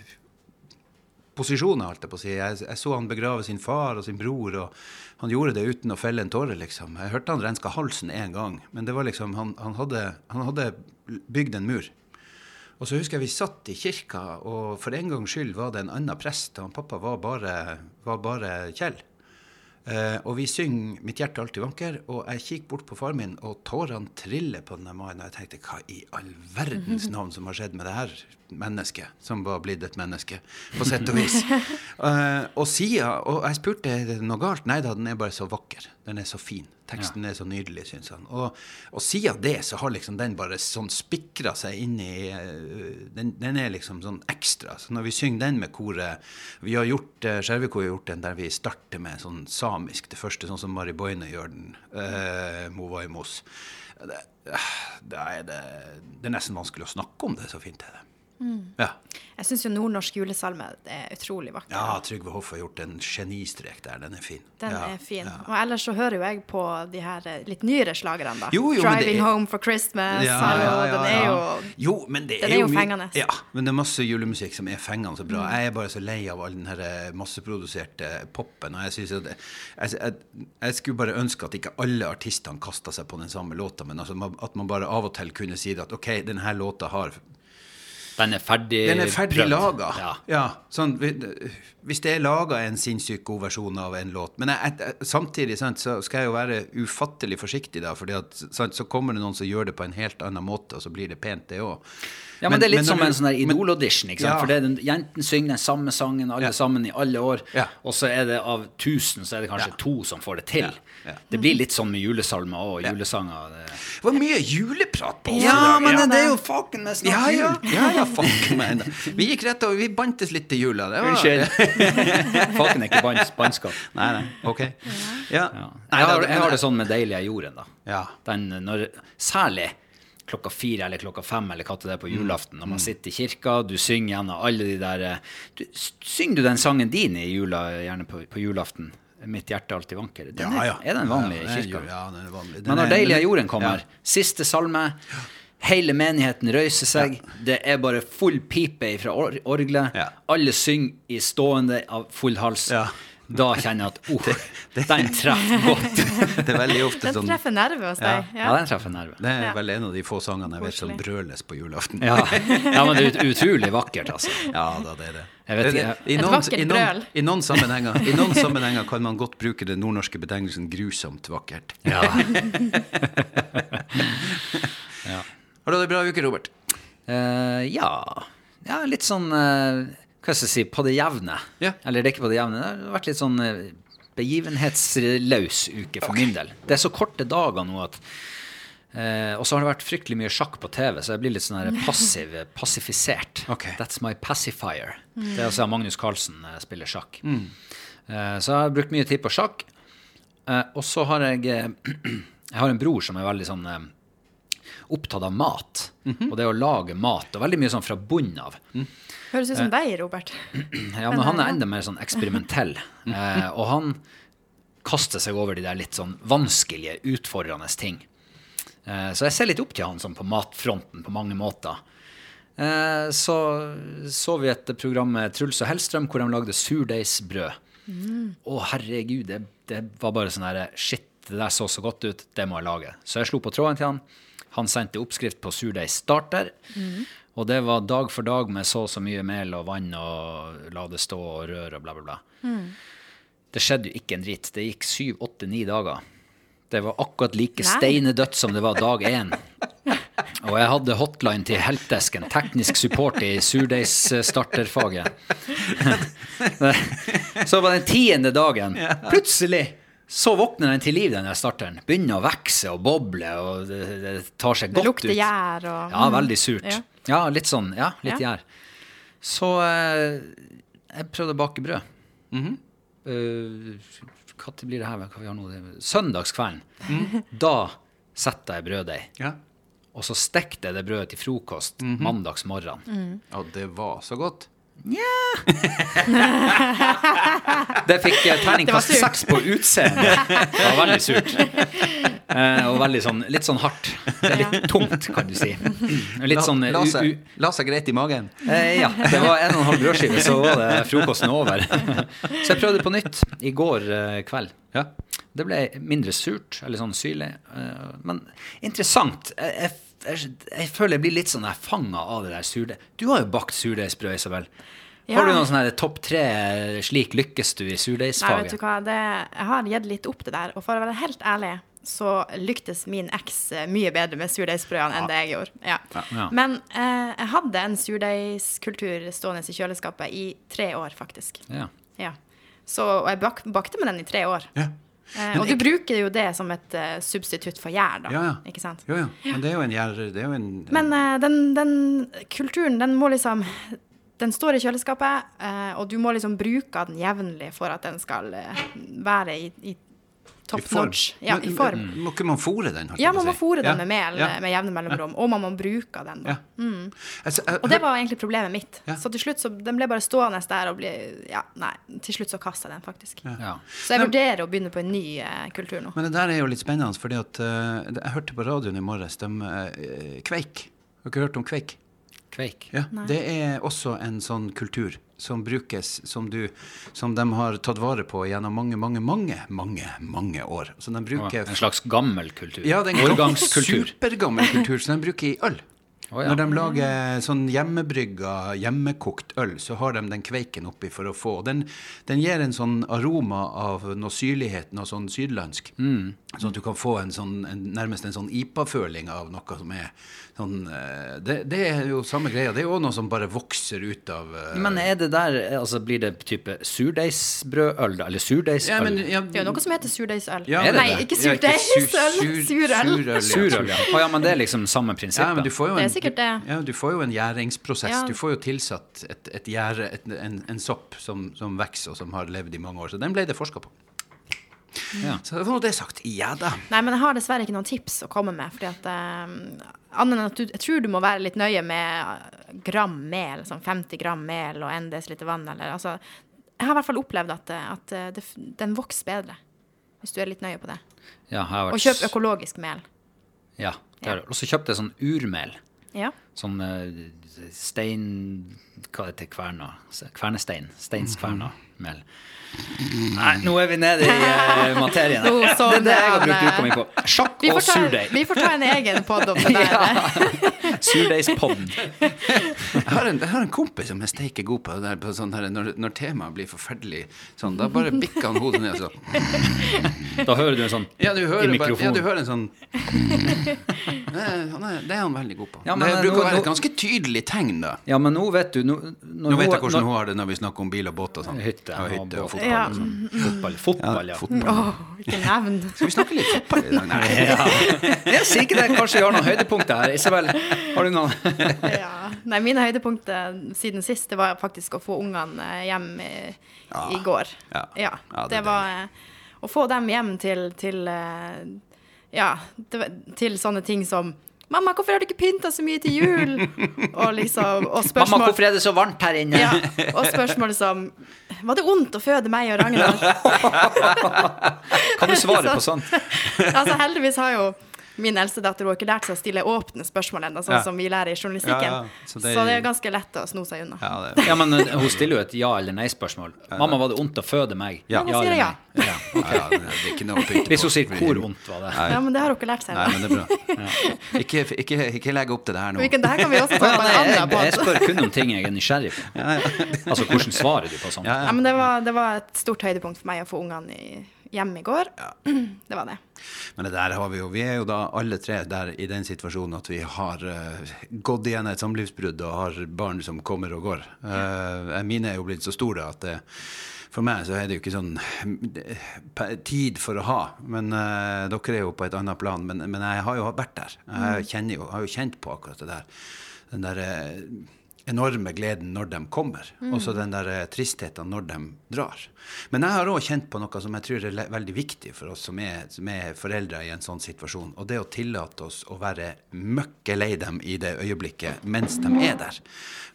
Speaker 2: posisjoner, holdt jeg på å si. Jeg, jeg så han begrave sin far og sin bror, og han gjorde det uten å felle en tåre, liksom. Jeg hørte han renska halsen én gang, men det var liksom Han, han, hadde, han hadde bygd en mur. Og så husker jeg vi satt i kirka, og for en gangs skyld var det en annen prest, og han pappa var bare, var bare Kjell. Eh, og vi synger 'Mitt hjerte alltid vanker', og jeg kikker bort på far min, og tårene triller på denne mannen. Og jeg tenkte 'hva i all verdens navn som har skjedd med det her mennesket', som var blitt et menneske, på sett og vis. Eh, og sida Og jeg spurte er det noe galt. Nei da, den er bare så vakker. Den er så fin. Teksten er så nydelig, syns han. Og, og sida det så har liksom den bare sånn spikra seg inn i eh, den, den er liksom sånn ekstra. Så når vi synger den med koret Vi har gjort eh, Skjervøyko har gjort den der vi starter med sånn samisk, det første, sånn som Mari Boine gjør den. Eh, Movaimos. Det, eh, da er det, det er nesten vanskelig å snakke om det, så fint er det.
Speaker 3: Mm.
Speaker 2: Ja.
Speaker 3: Jeg syns jo nordnorsk julesalme er utrolig vakker.
Speaker 2: ja, Trygve Hoff har gjort en genistrek der. Den er fin.
Speaker 3: Den
Speaker 2: ja.
Speaker 3: er fin. Og ellers så hører jo jeg på de her eh, litt nyere slagerne, da.
Speaker 2: Jo, jo, men det
Speaker 3: 'Driving
Speaker 2: er-
Speaker 3: Home for Christmas'. eh, og Den er jo
Speaker 2: Jo, men det
Speaker 3: den
Speaker 2: er,
Speaker 3: er jo Mm.
Speaker 2: mye-
Speaker 3: fengende.
Speaker 2: Ja, men det er masse julemusikk som er fengende så bra. Jeg er bare så lei av all den her eh, masseproduserte popen. Og jeg, synes at, jeg, jeg, jeg skulle bare ønske at ikke alle artistene kasta seg på den samme låta, men altså, ma- at man bare av og til kunne si det at OK, denne låta har
Speaker 1: Den er ferdig
Speaker 2: Den er ferdig
Speaker 1: prøvd.
Speaker 2: laga. Ja.
Speaker 1: Ja.
Speaker 2: sånn, vi- hvis det er laga en sinnssykt god versjon av en låt Men jeg, jeg, samtidig sant, så skal jeg jo være ufattelig forsiktig, da, fordi at, sant, så kommer det noen som gjør det på en helt annen måte, og så blir det pent, det òg.
Speaker 1: Ja, men, Det er litt som en sånn der Idol-audition. ikke sant?
Speaker 2: Ja.
Speaker 1: For det er den, Jentene synger den samme sangen alle sammen i alle år,
Speaker 2: Ja.
Speaker 1: og så er det av tusen så er det kanskje
Speaker 2: Ja.
Speaker 1: to som får det til.
Speaker 2: Ja. Ja.
Speaker 1: Det blir litt sånn med julesalmer og julesanger. Det.
Speaker 2: Det var mye juleprat på oss i
Speaker 1: Ja,
Speaker 2: dag,
Speaker 1: men
Speaker 2: ja.
Speaker 1: det, det er jo fucking meg snart
Speaker 2: ja, ja,
Speaker 1: jul!
Speaker 2: ja, ja, fuck meg. Vi gikk rett over, vi bantes litt til jula. Det var,
Speaker 1: Unnskyld. Fucking er ikke bans- bannskap.
Speaker 2: Nei, nei, ok. Ja.
Speaker 1: Ja.
Speaker 2: Nei,
Speaker 1: Jeg, har,
Speaker 2: det-
Speaker 1: jeg har det sånn med Deilig er jorden, da.
Speaker 2: Ja.
Speaker 1: Den, når, særlig klokka fire eller klokka fem eller hva til det
Speaker 2: Mm.
Speaker 1: er på julaften, når man sitter i kirka, du synger gjerne alle de der eh, du, s- Synger du den sangen din i jula, gjerne på, på julaften? 'Mitt hjerte alltid vanker'? Den er, er den vanlig i
Speaker 2: Ja,
Speaker 1: kirka?
Speaker 2: Ja, den er vanlig. Den
Speaker 1: Men
Speaker 2: er-
Speaker 1: når Deilig er jorden
Speaker 2: Ja.
Speaker 1: kommer, siste salme Hele menigheten røyser seg. Det er bare full pipe fra or orgelet.
Speaker 2: Ja.
Speaker 1: Alle synger i stående av full hals.
Speaker 2: Ja.
Speaker 1: Da kjenner jeg at oh, den treffer godt.
Speaker 2: Det er veldig ofte
Speaker 3: Den
Speaker 2: sånn
Speaker 3: treffer nerve hos deg.
Speaker 1: Ja, den treffer nerven.
Speaker 2: Det er
Speaker 3: Ja.
Speaker 2: vel en av de få sangene jeg vet som
Speaker 3: Koselig.
Speaker 2: brøles på julaften.
Speaker 1: Ja. ja, men det er ut- utrolig vakkert, altså.
Speaker 2: Ja da, det er det.
Speaker 1: Jeg vet
Speaker 2: Det-
Speaker 1: ikke,
Speaker 2: det- i
Speaker 3: Et
Speaker 2: noen-
Speaker 3: vakkert
Speaker 2: i noen-
Speaker 3: brøl.
Speaker 2: I noen sammenhenger, i noen sammenhenger kan man godt bruke den nordnorske betegnelsen 'grusomt vakkert'.
Speaker 1: Ja.
Speaker 2: Har du hatt ei bra uke, Robert?
Speaker 1: Eh, ja. ja, litt sånn eh, Hva skal jeg si på det jevne.
Speaker 2: Ja.
Speaker 1: Eller det er ikke på det jevne. Det har vært litt sånn eh, begivenhetsløs uke for min del. Det er så korte dager nå at eh, Og så har det vært fryktelig mye sjakk på TV, så jeg blir litt sånn her passiv, passifisert.
Speaker 2: Ok.
Speaker 1: That's my pacifier. Det er altså Magnus Carlsen eh, spiller sjakk. Eh, så jeg har brukt mye tid på sjakk. Eh, og så har jeg eh, Jeg har en bror som er veldig sånn eh, opptatt av mat. Og det å lage mat. Og veldig mye sånn fra bunnen av.
Speaker 3: Høres ut som deg, Robert.
Speaker 1: Ja, men han er enda mer sånn eksperimentell. Eh, og han kaster seg over de der litt sånn vanskelige, utfordrende ting. Eh, så jeg ser litt opp til han sånn på matfronten på mange måter. Eh, så så vi et program med Truls og Hellstrøm hvor de lagde surdeigsbrød. Å, herregud, det, det var bare sånn herre Shit, det der så så godt ut, det må jeg lage. Så jeg slo på tråden til han. Han sendte oppskrift på surdeigstarter. Og det var dag for dag med så og så mye mel og vann og la det stå og rør og bla, bla, bla. Det skjedde jo ikke en dritt. Det gikk syv, åtte, ni dager. Det var akkurat like
Speaker 3: Nei.
Speaker 1: steinedødt som det var dag én. Og jeg hadde hotline til helpdesken, teknisk support i surdeigstarterfaget. Så var den tiende dagen. Plutselig så våkner den til liv, den der starteren. Begynner å vokse og boble, og det, det tar seg
Speaker 3: Det
Speaker 1: godt ut.
Speaker 3: lukter gjær og
Speaker 1: Ja, veldig surt. Ja,
Speaker 3: Ah. Ja.
Speaker 1: litt sånn. Ja, litt
Speaker 3: Ja.
Speaker 1: gjær. Så eh, jeg prøvde å bake brød.
Speaker 2: Mhm.
Speaker 1: Mm når blir det her? Hva vi har nå? Det er Søndagskvelden.
Speaker 2: Mhm.
Speaker 1: Da setter jeg brøddeig.
Speaker 2: Ja.
Speaker 1: Og så stekte jeg det brødet til frokost
Speaker 2: Mhm.
Speaker 1: mandags morgen.
Speaker 3: Mm.
Speaker 2: Ja, det var så godt.
Speaker 1: Det fikk eh,
Speaker 3: Det var
Speaker 1: terningkast
Speaker 3: surt.
Speaker 1: seks på utseende. Det var veldig surt. Eh, og veldig sånn, litt sånn hardt. Det er litt tungt, kan du si. Litt sånn eh,
Speaker 2: la, la,
Speaker 1: u, u,
Speaker 2: seg, la seg greit i magen.
Speaker 1: Eh, ja. Det var en og en halv brødskive, så var det frokosten over. så jeg prøvde på nytt i går eh, kveld.
Speaker 2: Ja.
Speaker 1: Det ble mindre surt, eller sånn syrlig. eh, men interessant. Jeg, jeg, jeg, jeg føler jeg blir litt sånn der fanga av det der surdeig. Du har jo bakt surdeigsbrød, Isabel.
Speaker 3: Ja.
Speaker 1: Har du noen sånn her topp tre eh, slik lykkes du i
Speaker 3: Nei, vet du
Speaker 1: surdeigsfaget?
Speaker 3: hva, det, jeg har gitt litt opp det der. Og for å være helt ærlig, så lyktes min eks eh, mye bedre med surdeigsbrødene enn det jeg gjorde. Ja.
Speaker 1: ja.
Speaker 3: Men eh, jeg hadde en surdeigskultur stående i kjøleskapet i tre år, faktisk.
Speaker 1: Ja.
Speaker 3: Ja. Så, og jeg bak, bakte med den i tre år.
Speaker 2: Ja.
Speaker 3: Eh, og du bruker jo det som et eh, substitutt for gjær, da.
Speaker 2: Ja, ja.
Speaker 3: Ikke sant?
Speaker 2: Jo, ja. Men det er jo en gjær... Det er jo en
Speaker 3: Men eh, den, den kulturen, den må liksom Den står i kjøleskapet, eh, og du må liksom bruke den jevnlig for at den skal eh, være i, i top notch. Ja,
Speaker 2: Men-
Speaker 3: i form.
Speaker 2: men- Må ikke man fôre den? holdt
Speaker 3: Ja,
Speaker 2: jeg på å
Speaker 3: man må
Speaker 2: mm. si?
Speaker 3: fôre
Speaker 2: Ja,
Speaker 3: den med mel
Speaker 2: ja,
Speaker 3: eh, med jevne mellomrom, og man må bruke den.
Speaker 2: Ja.
Speaker 3: da.
Speaker 2: Altså, jeg,
Speaker 3: Og det var egentlig problemet mitt.
Speaker 2: Ja.
Speaker 3: Så til slutt så den ble bare stående der og ble Ja, nei, til slutt så kasta jeg den faktisk.
Speaker 1: Ja.
Speaker 3: Så jeg vurderer å begynne på en ny eh, kultur nå.
Speaker 2: Men det der er jo litt spennende, fordi at eh, jeg hørte på radioen i morges de, eh, Kveik. Har dere hørt om Kveik?
Speaker 1: Kveik.
Speaker 2: Ja, det er også en sånn kultur som brukes, som, du, som de har tatt vare på gjennom mange, mange, mange mange, mange år. Så de bruker
Speaker 1: En slags gammel kultur.
Speaker 2: ja, det er en gammel,
Speaker 1: Årgangskultur.
Speaker 2: supergammel kultur som de bruker i øl.
Speaker 1: Å, ja.
Speaker 2: Når de lager sånn hjemmebrygga, hjemmekokt øl, så har de den kveiken oppi for å få. Og Den, den gir en sånn aroma av noe syrlighet, noe sånn sydlandsk. Sånn at du kan få en sånn, en, nærmest en sånn IPA-føling av noe som er sånn eh, Det, det er jo samme greia. Det er jo også noe som bare vokser ut av eh,
Speaker 1: Men er det der altså Blir det type surdeigsbrødøl, da? Eller surdeigsøl?
Speaker 2: ja, men, ja,
Speaker 3: Det er jo noe som heter surdeisøl.
Speaker 2: Ja,
Speaker 1: det er
Speaker 3: nei,
Speaker 1: det.
Speaker 3: ikke
Speaker 2: Ja, ikke sur-
Speaker 3: surdeisøl,
Speaker 2: sur-
Speaker 3: surøl.
Speaker 2: surøl, ja.
Speaker 1: Surøl, ja. Å ja, men det er liksom samme prinsippet.
Speaker 2: Ja, men du får jo en,
Speaker 3: Det er sikkert det.
Speaker 2: Ja, du får jo en gjæringsprosess.
Speaker 3: Ja.
Speaker 2: Du får jo tilsatt et, et gjære, et, en, en sopp som, som vokser og som har levd i mange år. Så den ble det forska på.
Speaker 1: Ja.
Speaker 2: Så det var nå det sagt. Ja da.
Speaker 3: Nei, men jeg har dessverre ikke noen tips å komme med. Fordi at eh, Annet enn at du, jeg tror du må være litt nøye med gram mel. Sånn 50 gram mel og 1 dl vann, eller altså Jeg har i hvert fall opplevd at, eh, at eh, det, f- den vokser bedre. Hvis du er litt nøye på det.
Speaker 1: Ja, jeg har vært
Speaker 3: Og kjøp økologisk mel.
Speaker 1: Ja, det er det. Og så kjøpte jeg sånn urmel.
Speaker 3: Ja.
Speaker 1: Sånn eh, stein... Hva heter kverna? Kvernestein. Steinskverna. Mel. Nei, nå er vi nede i eh, materien. her.
Speaker 3: Nå så
Speaker 1: det er det jeg har
Speaker 3: den,
Speaker 1: brukt
Speaker 3: eh,
Speaker 1: uka mi på. Sjakk
Speaker 3: Vi
Speaker 1: og
Speaker 3: får, ta,
Speaker 1: surdeig.
Speaker 3: vi får ta en egen podd om det der.
Speaker 1: Surdeigspodden.
Speaker 2: Jeg har, en, jeg har en kompis som er steike god på det der, på sånn her, når, når temaet blir forferdelig sånn, da bare bikker han hodet ned og sånn.
Speaker 1: Da hører du en sånn
Speaker 2: Ja, du hører,
Speaker 1: i
Speaker 2: bare, ja, du
Speaker 1: mikrofonen.
Speaker 2: hører en sånn Nei, han er, Det er han veldig god på.
Speaker 1: Ja, men
Speaker 2: det bruker
Speaker 1: nå-
Speaker 2: å være
Speaker 1: nå-
Speaker 2: et ganske tydelig tegn, da.
Speaker 1: Ja, men nå vet du Nå, når
Speaker 2: Nå vet jeg
Speaker 1: hun-
Speaker 2: hvordan
Speaker 1: når-
Speaker 2: hun har det når vi snakker om bil og båt og sånn.
Speaker 1: Hytte,
Speaker 2: ja,
Speaker 1: og
Speaker 2: hytte og
Speaker 1: båt.
Speaker 2: fotball.
Speaker 3: Ja.
Speaker 2: og sånn.
Speaker 1: Fotball. Fotball, ja.
Speaker 2: Fotball.
Speaker 3: Åh, ikke nevn.
Speaker 2: Skal vi snakke litt fotball i dag? Nei.
Speaker 1: Jeg sier ikke det. Kanskje vi har noen høydepunkter her. Isabel, har du noen?
Speaker 3: Ja. Nei, mine høydepunkter siden sist, det var faktisk å få ungene eh, hjem i, i går.
Speaker 2: Ja.
Speaker 3: Ja.
Speaker 2: Ja, det
Speaker 3: det
Speaker 2: er
Speaker 3: var eh, å få dem hjem til, til eh, Ja, det var- til sånne ting som Mamma, hvorfor har du ikke pynta så mye til jul? Og liksom Og
Speaker 1: Mamma,
Speaker 3: spørsmål
Speaker 1: hvorfor er det så varmt her inne?
Speaker 3: ja, Og spørsmål som Var det vondt å føde meg og Ragnar?
Speaker 1: Kan du svare på sånn?
Speaker 3: altså, heldigvis har jo min eldste datter hun har ikke lært seg å stille åpne spørsmål ennå, sånn
Speaker 2: Ja.
Speaker 3: som vi lærer i journalistikken.
Speaker 2: Ja, ja.
Speaker 3: Så,
Speaker 2: Så
Speaker 3: det...
Speaker 2: det-
Speaker 3: er ganske lett å sno seg unna.
Speaker 2: Ja, det,
Speaker 1: Ja, men eh, hun stiller jo et ja- eller nei-spørsmål. Mamma, var det vondt å føde meg?
Speaker 2: Ja.
Speaker 3: Mamma sier
Speaker 1: eller
Speaker 3: ja.
Speaker 1: nei?
Speaker 2: ja, det er ikke noe å pynte på.
Speaker 1: Hvis hun sier hvor vondt var det?
Speaker 3: Ja, men det har hun ikke lært seg
Speaker 2: Nei,
Speaker 3: ennå.
Speaker 2: men det er bra. Ikke, ikke, ikke legg opp til det her nå.
Speaker 3: Vi kan- Det her kan vi også ta på
Speaker 1: Nei,
Speaker 3: en
Speaker 1: jeg,
Speaker 3: annen
Speaker 1: jeg
Speaker 3: podd.
Speaker 1: spør kun om ting jeg er nysgjerrig på. Altså, hvordan svarer du på sånt?
Speaker 2: Ja,
Speaker 3: Ja, men det var, det var et stort høydepunkt for meg å få ungene i- hjem i går. Det var det.
Speaker 2: Men det der har vi jo, vi er jo da alle tre der i den situasjonen at vi har eh, gått igjen et samlivsbrudd og har barn som kommer og går. Eh, mine er jo blitt så store at det, for meg så er det jo ikke sånn eh, pe- tid for å ha. Men eh, dere er jo på et annet plan. Men, men jeg har jo vært der. Jeg kjenner jo, har jo kjent på akkurat det der. Den der eh, enorme gleden når de kommer, og så den der eh, tristheten når de drar. Men jeg har òg kjent på noe som jeg tror er le- veldig viktig for oss som er, som er foreldre i en sånn situasjon, og det å tillate oss å være møkke lei dem i det øyeblikket mens de er der.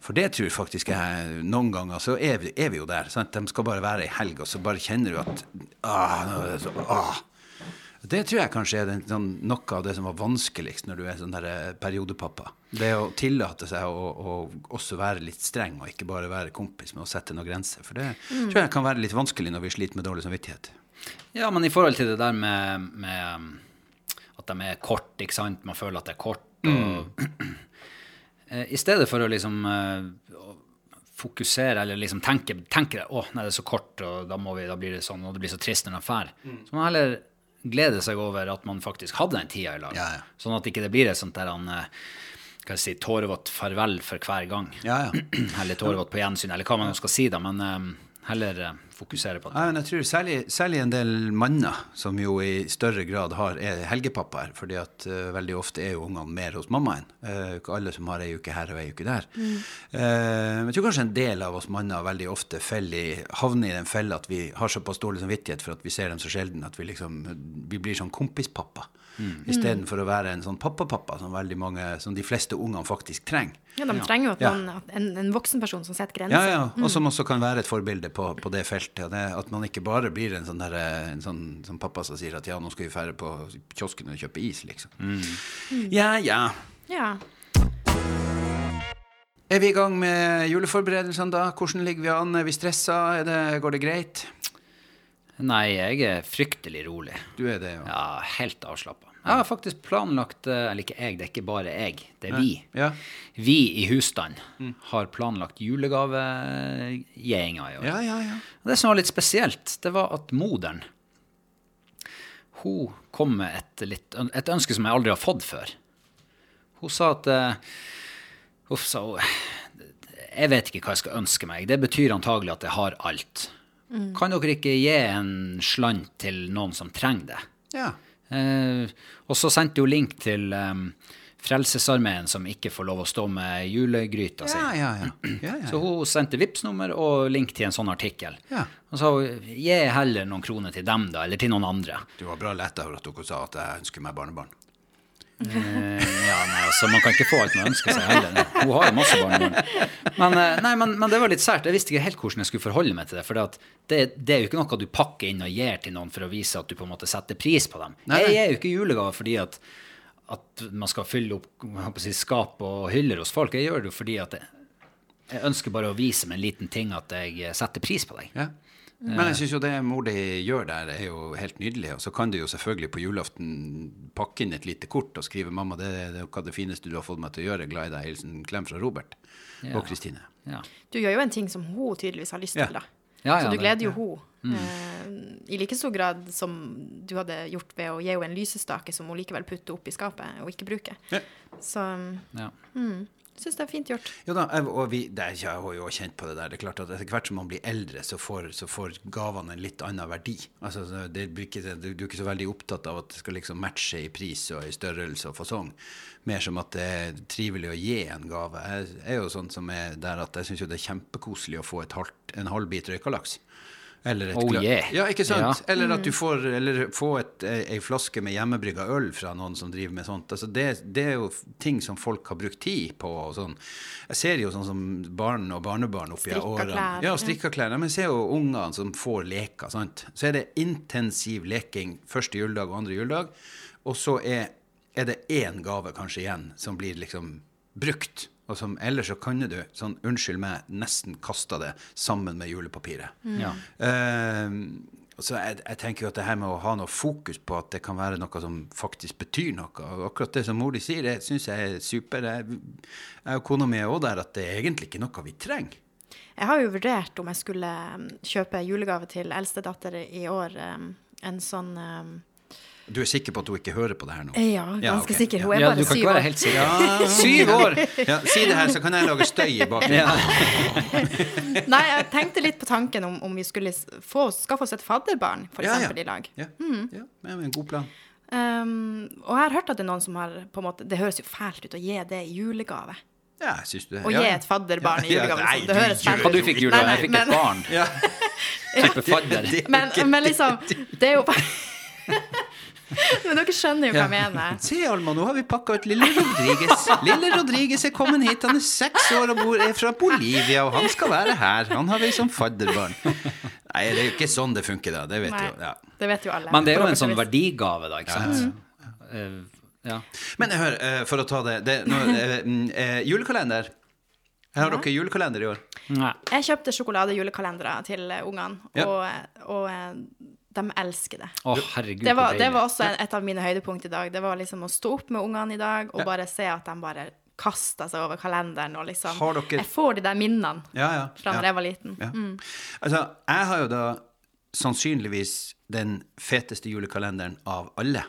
Speaker 2: For det tror faktisk jeg noen ganger så er vi, er vi jo der. Sant? De skal bare være ei helg, og så bare kjenner du at ah, nå er det så, ah. Det tror jeg kanskje er den, sånn, noe av det som var vanskeligst når du er sånn der eh, periodepappa. Det å tillate seg å, å også være litt streng, og ikke bare være kompis, men å sette noen grenser. For det tror jeg kan være litt vanskelig når vi sliter med dårlig samvittighet.
Speaker 1: Ja, men i forhold til det der med, med um, at de er kort, ikke sant? Man føler at det er kort.
Speaker 2: Mm.
Speaker 1: Og, Eh, I stedet for å liksom eh, å fokusere eller liksom tenke, tenke det, å, nei, det er så kort, og da, må vi, da blir det sånn, og det blir så trist når de drar.
Speaker 2: Mm.
Speaker 1: Så man heller glede seg over at man faktisk hadde den tida i lag.
Speaker 2: Ja, ja.
Speaker 1: Sånn at ikke det blir et sånt der han eh, hva skal jeg si, tårevått farvel for hver gang.
Speaker 2: Ja, ja.
Speaker 1: Eller tårevått på gjensyn, eller hva man nå skal si, da. Men eh, heller eh, fokusere på det.
Speaker 2: Ja, men jeg tror særlig, særlig en del manner som jo i større grad har, er helgepappaer, fordi at eh, veldig ofte er jo ungene mer hos mammaen. Eh, ikke alle som har ei uke her og ei uke der. Eh, men jeg tror kanskje en del av oss manner veldig ofte feller i- havner i den fella at vi har såpass dårlig samvittighet for at vi ser dem så sjelden at vi liksom vi blir sånn kompispappa.
Speaker 1: Mm.
Speaker 2: Istedenfor å være en sånn pappapappa som veldig mange, som de fleste ungene faktisk trenger.
Speaker 3: Ja, de trenger jo at
Speaker 2: Ja.
Speaker 3: noen, at en, en voksen person som setter
Speaker 2: Ja,
Speaker 3: grenser.
Speaker 2: ja, og som også kan være et forbilde på, på det feltet. og Det, at man ikke bare blir en sånn, der, eh, en sånn som pappa som sier at ja, nå skal vi fære på kiosken og kjøpe is, liksom. Ja, ja.
Speaker 3: Ja.
Speaker 2: Er vi i gang med juleforberedelsene da? Hvordan ligger vi an? Er vi stressa? Er det, går det greit?
Speaker 1: Nei, jeg er fryktelig rolig.
Speaker 2: Du er det, ja.
Speaker 1: Ja, helt avslappa. Jeg har faktisk planlagt eh, Eller ikke jeg, det er ikke bare jeg. Det er vi.
Speaker 2: Ja.
Speaker 1: Vi i husstand har planlagt julegavegjeinga i år.
Speaker 2: Ja, ja, ja.
Speaker 1: Og Det som var litt spesielt, det var at moderen Hun kom med et, litt, et ønske som jeg aldri har fått før. Hun sa at eh, Uff, sa hun. Jeg vet ikke hva jeg skal ønske meg. Det betyr antagelig at jeg har alt.
Speaker 2: Mm.
Speaker 1: Kan dere ikke gi en slant til noen som trenger det?
Speaker 2: ja.
Speaker 1: Eh, og så sendte hun link til eh, Frelsesarmeen, som ikke får lov å stå med julegryta si.
Speaker 2: Ja, ja, ja. ja, ja.
Speaker 1: Så hun sendte Vipps-nummer og link til en sånn artikkel.
Speaker 2: Ja.
Speaker 1: Og så sa hun, gi heller noen kroner til dem, da, eller til noen andre.
Speaker 2: Du var bra letta over at dere sa at jeg ønsker meg barnebarn.
Speaker 1: Eh, ja, nei, altså, man kan ikke få alt man ønsker seg heller. Hun har jo masse barnebarn. Men, eh, nei, men, men det var litt sært. Jeg visste ikke helt hvordan jeg skulle forholde meg til det. For det, at det, det er jo ikke noe du pakker inn og gir til noen for å vise at du på en måte setter pris på dem.
Speaker 2: Nei, nei.
Speaker 1: Jeg gir jo ikke julegave fordi at at man skal fylle opp hva skal jeg si, skap og hyller hos folk. Jeg gjør det jo fordi at jeg, jeg ønsker bare å vise med en liten ting at jeg setter pris på deg.
Speaker 2: Ja. Men jeg syns jo det mor di gjør der, er jo helt nydelig. Og så kan du jo selvfølgelig på julaften pakke inn et lite kort og skrive 'Mamma, det er noe av det fineste du har fått meg til å gjøre. Glad i deg. Hilsen klem fra Robert
Speaker 1: Ja.
Speaker 2: og Kristine'.
Speaker 1: Ja.
Speaker 3: Du gjør jo en ting som hun tydeligvis har lyst
Speaker 2: Ja.
Speaker 3: til, da.
Speaker 1: Ja, ja,
Speaker 3: så du
Speaker 1: det-
Speaker 3: gleder jo hun.
Speaker 2: Mm.
Speaker 3: eh, I like stor grad som du hadde gjort ved å gi henne en lysestake som hun likevel putter opp i skapet og ikke bruker.
Speaker 2: Ja.
Speaker 3: Så
Speaker 1: Ja.
Speaker 3: syns det er fint gjort.
Speaker 2: Jo da, jeg, og vi, det er, jeg har jo også kjent på det der. Det er klart at Etter hvert som man blir eldre, så får, så får gavene en litt annen verdi. Altså, så det blir ikke, du, du er ikke så veldig opptatt av at det skal liksom matche i pris og i størrelse og fasong. Mer som at det er trivelig å gi en gave. Jeg er jo sånn som er der at jeg syns det er kjempekoselig å få et halvt, en halv bit røykalaks. Eller et
Speaker 1: Oh,
Speaker 2: gla-
Speaker 1: yeah.
Speaker 2: Ja, ikke sant?
Speaker 1: Ja.
Speaker 2: Eller at du får eller få et, eh, ei flaske med hjemmebrygga øl fra noen som driver med sånt. Altså det, det er jo f- ting som folk har brukt tid på. og sånn. Jeg ser jo sånn som barn og barnebarn oppi
Speaker 3: Strikka
Speaker 2: årene.
Speaker 3: klær.
Speaker 2: Ja, strikka klær. Nei, Men se jo ungene som får leker. sant? Så er det intensiv leking første juledag og andre juledag. Og så er, er det én gave kanskje igjen som blir liksom brukt. Og som ellers så kan du, sånn unnskyld meg, nesten kasta det sammen med julepapiret.
Speaker 1: Ja.
Speaker 2: Ehm, så jeg, jeg tenker jo at det her med å ha noe fokus på at det kan være noe som faktisk betyr noe, og akkurat det som mor di sier, det syns jeg er super. Jeg, jeg og kona mi er òg der at det er egentlig ikke noe vi trenger.
Speaker 3: Jeg har jo vurdert om jeg skulle um, kjøpe julegave til eldste datter i år. Um, en sånn um,
Speaker 2: Du er sikker på at hun ikke hører på det her nå?
Speaker 3: Ja, ganske
Speaker 2: ok.
Speaker 3: sikker. Hun er
Speaker 1: ja,
Speaker 3: bare
Speaker 1: du kan
Speaker 3: syv
Speaker 1: ikke
Speaker 3: år.
Speaker 1: være helt sikker.
Speaker 2: Ja.
Speaker 1: Syv år!
Speaker 2: Ja, si det her, så kan jeg lage støy i bakgrunnen.
Speaker 1: Ja.
Speaker 3: Nei, jeg tenkte litt på tanken om, om vi skulle s- få, skaffe oss et fadderbarn, for
Speaker 2: Ja, ja.
Speaker 3: eksempel, i Mm. lag.
Speaker 2: Ja, ja, ja, men god plan.
Speaker 3: Um, og jeg har hørt at det er noen som har på en måte, Det høres jo fælt ut å gi det i julegave.
Speaker 2: Ja, jeg syns du
Speaker 3: Å gi et fadderbarn
Speaker 2: Ja,
Speaker 3: i
Speaker 2: ja,
Speaker 3: julegave.
Speaker 2: nei,
Speaker 3: liksom.
Speaker 2: du
Speaker 3: det høres
Speaker 2: gjør
Speaker 3: fælt
Speaker 1: Hva
Speaker 3: ut.
Speaker 1: du fikk i jula?
Speaker 3: Nei, nei,
Speaker 1: Jeg fikk
Speaker 3: men-
Speaker 1: et barn.
Speaker 2: Ja.
Speaker 1: Type fadder.
Speaker 3: Men, men liksom, det er jo Men dere skjønner jo hva
Speaker 2: Ja.
Speaker 3: jeg mener.
Speaker 2: Se, Alma, nå har vi pakka ut lille Rodriges. Lille Rodriges er kommet hit. Han er seks år og bor, er fra Bolivia, og han skal være her. Han har vi som fadderbarn. Nei, det er jo ikke sånn det funker, da. Det vet
Speaker 3: Nei,
Speaker 2: du. jo, Ja.
Speaker 3: det vet jo alle.
Speaker 1: Men det er jo en sånn
Speaker 3: Forhåpentligvis.
Speaker 1: verdigave, da, ikke sant? Eh, ja.
Speaker 2: Men hør, eh, for å ta det, det nå, eh, mm, eh, Julekalender. Her har dere julekalender i år.
Speaker 1: Nei.
Speaker 3: Jeg kjøpte sjokoladejulekalendere til eh, ungene,
Speaker 2: Ja.
Speaker 3: og, eh, og eh, de elsker det.
Speaker 1: Å, herregud,
Speaker 3: Det
Speaker 1: så
Speaker 3: var, det
Speaker 1: deilig.
Speaker 3: var også en- et av mine høydepunkt i dag. Det var liksom å stå opp med ungene i dag og bare se at de bare kasta seg over kalenderen og liksom
Speaker 2: Har dere-
Speaker 3: Jeg får de der minnene
Speaker 2: Ja, ja.
Speaker 3: fra
Speaker 2: ja.
Speaker 3: da jeg var liten.
Speaker 2: Ja. Altså, jeg har jo da sannsynligvis den feteste julekalenderen av alle.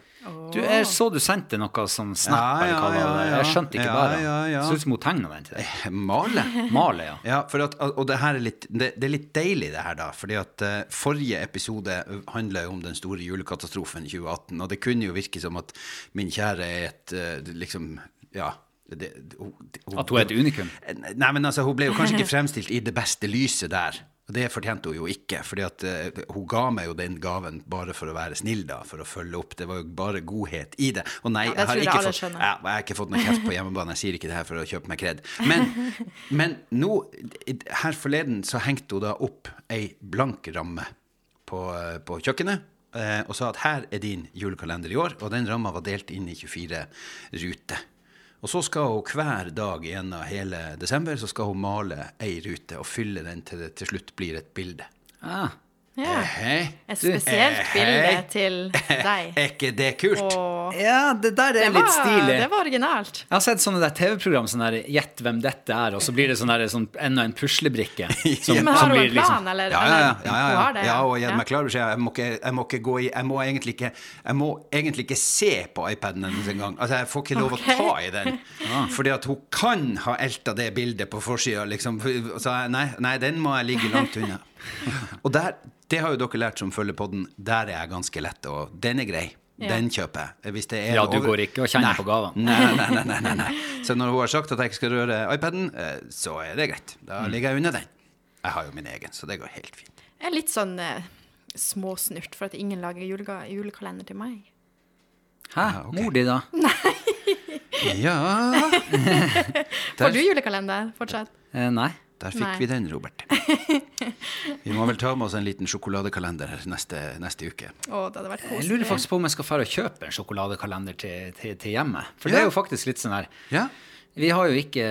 Speaker 1: Du, jeg så du sendte noe sånn snap,
Speaker 2: Ja,
Speaker 1: eller
Speaker 2: ja,
Speaker 1: hva det var.
Speaker 2: ja, ja.
Speaker 1: Jeg skjønte ikke
Speaker 2: Ja,
Speaker 1: bare.
Speaker 2: ja, ja.
Speaker 1: Så ut som hun tegna den til deg.
Speaker 2: Male.
Speaker 1: Male, ja.
Speaker 2: Ja, for at, og det her er litt, det, det er litt deilig det her da, fordi at eh, forrige episode handlet jo om den store julekatastrofen i 2018, og det kunne jo virke som at min kjære er et, eh, liksom, ja... Det, hun- hun-
Speaker 1: At hun er et unikum.
Speaker 2: Nei, men altså, hun ble jo kanskje ikke fremstilt i det beste lyset der. Og det fortjente hun jo ikke, fordi at eh, hun ga meg jo den gaven bare for å være snill, da, for å følge opp. Det var jo bare godhet i det. Og nei,
Speaker 3: Ja, det
Speaker 2: jeg, har
Speaker 3: tror jeg
Speaker 2: ikke
Speaker 3: alle
Speaker 2: fått,
Speaker 3: skjønner.
Speaker 2: ja, jeg har ikke fått noe kjeft på hjemmebane, jeg sier ikke det her for å kjøpe meg kred. Men, men nå, her forleden, så hengte hun da opp ei blank ramme på, eh, på kjøkkenet. eh, Og sa at her er din julekalender i år, og den ramma var delt inn i 24 ruter. Og så skal hun hver dag gjennom hele desember så skal hun male ei rute og fylle den til det til slutt blir et bilde.
Speaker 1: Ah.
Speaker 3: Ja.
Speaker 2: Hei.
Speaker 3: Et spesielt
Speaker 2: eh,
Speaker 3: bilde til deg.
Speaker 2: Er ikke det kult?
Speaker 3: Og
Speaker 1: Ja, det der er
Speaker 3: det
Speaker 1: litt
Speaker 3: var,
Speaker 1: stilig.
Speaker 3: det var originalt.
Speaker 1: Jeg har sett sånne der TV-program sånn der 'Gjett hvem dette er', og så blir det sånn der, sånn, enda en puslebrikke. Som,
Speaker 3: Men har
Speaker 1: som
Speaker 3: hun
Speaker 1: blir
Speaker 3: en plan,
Speaker 1: liksom
Speaker 3: eller?
Speaker 2: Ja, ja, ja.
Speaker 3: eller-
Speaker 2: ja,
Speaker 3: Hun
Speaker 2: ja,
Speaker 3: har
Speaker 2: ja.
Speaker 3: det,
Speaker 2: ja og gitt
Speaker 3: Ja.
Speaker 2: meg klar beskjed. Jeg må ikke, jeg må ikke gå i Jeg må egentlig ikke Jeg må egentlig ikke se på iPaden hennes engang. Altså, jeg får ikke lov
Speaker 3: Ok.
Speaker 2: å ta i den. Ah. Fordi at hun kan ha elta det bildet på forsida, liksom. Så jeg, nei, nei, den må jeg ligge langt unna. Og der, det har jo dere lært som følger podden, der er jeg ganske lett, og den er grei.
Speaker 3: Ja.
Speaker 2: Den kjøper jeg. Hvis det er
Speaker 1: Ja, du
Speaker 2: over-
Speaker 1: går ikke og kjenner
Speaker 2: Nei.
Speaker 1: på gavene.
Speaker 2: Nei, nei, nei, nei, nei, nei. Så når hun har sagt at jeg ikke skal røre iPaden, eh, så er det greit.
Speaker 1: Mm.
Speaker 2: Da ligger jeg unna den. Jeg har jo min egen, så det går helt fint.
Speaker 3: Jeg er litt sånn eh, småsnurt for at ingen lager julega- julekalender til meg.
Speaker 1: Hæ? Mor di, da?
Speaker 2: Ja
Speaker 3: Får du julekalender fortsatt?
Speaker 1: Eh, nei.
Speaker 2: Der fikk
Speaker 3: Nei.
Speaker 2: vi den, Robert. Vi må vel ta med oss en liten sjokoladekalender her neste, neste uke.
Speaker 3: Å, det hadde vært
Speaker 1: Jeg lurer
Speaker 3: koselig.
Speaker 1: faktisk på om jeg skal fære og kjøpe en sjokoladekalender til, til, til hjemmet. For
Speaker 2: Ja.
Speaker 1: det er jo faktisk litt sånn her
Speaker 2: Ja?
Speaker 1: Vi har jo ikke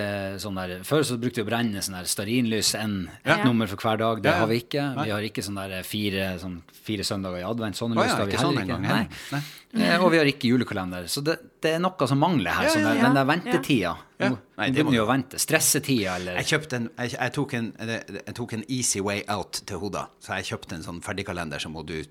Speaker 1: sånn der Før så brukte vi å brenne sånn der stearinlys, en
Speaker 3: Ja.
Speaker 1: et nummer for hver dag. Det
Speaker 2: Ja, ja.
Speaker 1: har vi ikke.
Speaker 2: Nei.
Speaker 1: Vi har ikke sånn der fire, sånn fire søndager i advent. Sånne
Speaker 2: Å
Speaker 1: lys
Speaker 2: ja,
Speaker 1: har vi
Speaker 2: ikke sånn
Speaker 1: heller ikke.
Speaker 2: engang, ja.
Speaker 1: Nei. Eh, Og vi har ikke julekalender. Så det, det er noe som mangler her.
Speaker 2: Ja,
Speaker 1: sånn
Speaker 2: ja,
Speaker 1: der,
Speaker 3: ja.
Speaker 1: Den der ventetida.
Speaker 2: Ja.
Speaker 1: Nå-
Speaker 2: Nei,
Speaker 1: Nå
Speaker 2: det
Speaker 1: begynner
Speaker 2: må
Speaker 1: vi å vente. Stressetida, eller
Speaker 2: Jeg, kjøpte en, jeg, jeg, tok en, jeg tok en easy way out til Hoda. Så jeg kjøpte en sånn ferdigkalender, så må du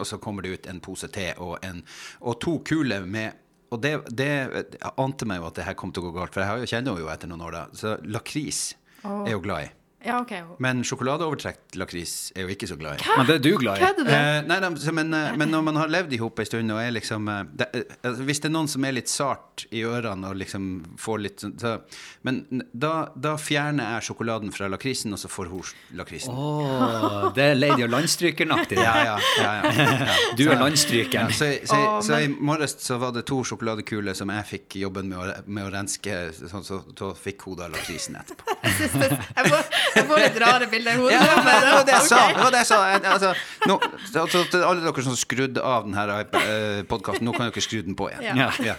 Speaker 2: Og så kommer det ut en pose te og, en, og to kuler med Og det, det jeg ante meg jo at det her kom til å gå galt, for jeg har jo- kjenner henne jo etter noen år, da. Så lakris er jeg jo glad i.
Speaker 3: Ja, OK.
Speaker 2: Men sjokoladeovertrekt lakris er jeg jo ikke så glad i.
Speaker 1: Men det er du glad i.
Speaker 3: Kødder du?
Speaker 2: Eh, nei, nei, så- men, eh, men når man har levd i hop en stund og er liksom eh, det, eh, altså, Hvis det er noen som er litt sart i ørene og liksom får litt sånn så, Men n- da, da fjerner jeg sjokoladen fra lakrisen, og så får hun s- lakrisen.
Speaker 1: Åh, det er Lady og landstryker'n-aktig.
Speaker 2: Ja, ja, ja, ja, ja.
Speaker 1: Du er
Speaker 2: Ja,
Speaker 1: landstrykeren.
Speaker 2: så, så, så,
Speaker 3: Åh,
Speaker 2: i morges så var det to sjokoladekuler som jeg fikk jobben med å, re- med å renske, sånn så da fikk hodet av lakrisen etterpå.
Speaker 3: Jeg synes det- Jeg får, jeg får litt rare bilder i hodet.
Speaker 2: Ja, det
Speaker 3: men-
Speaker 2: var det jeg sa!
Speaker 3: ok.
Speaker 2: Det var det jeg sa. Jeg- Altså, nå, altså, til alle dere som skrudde av denne podkasten, nå kan dere skru den på igjen.
Speaker 1: Ja.
Speaker 2: Ja.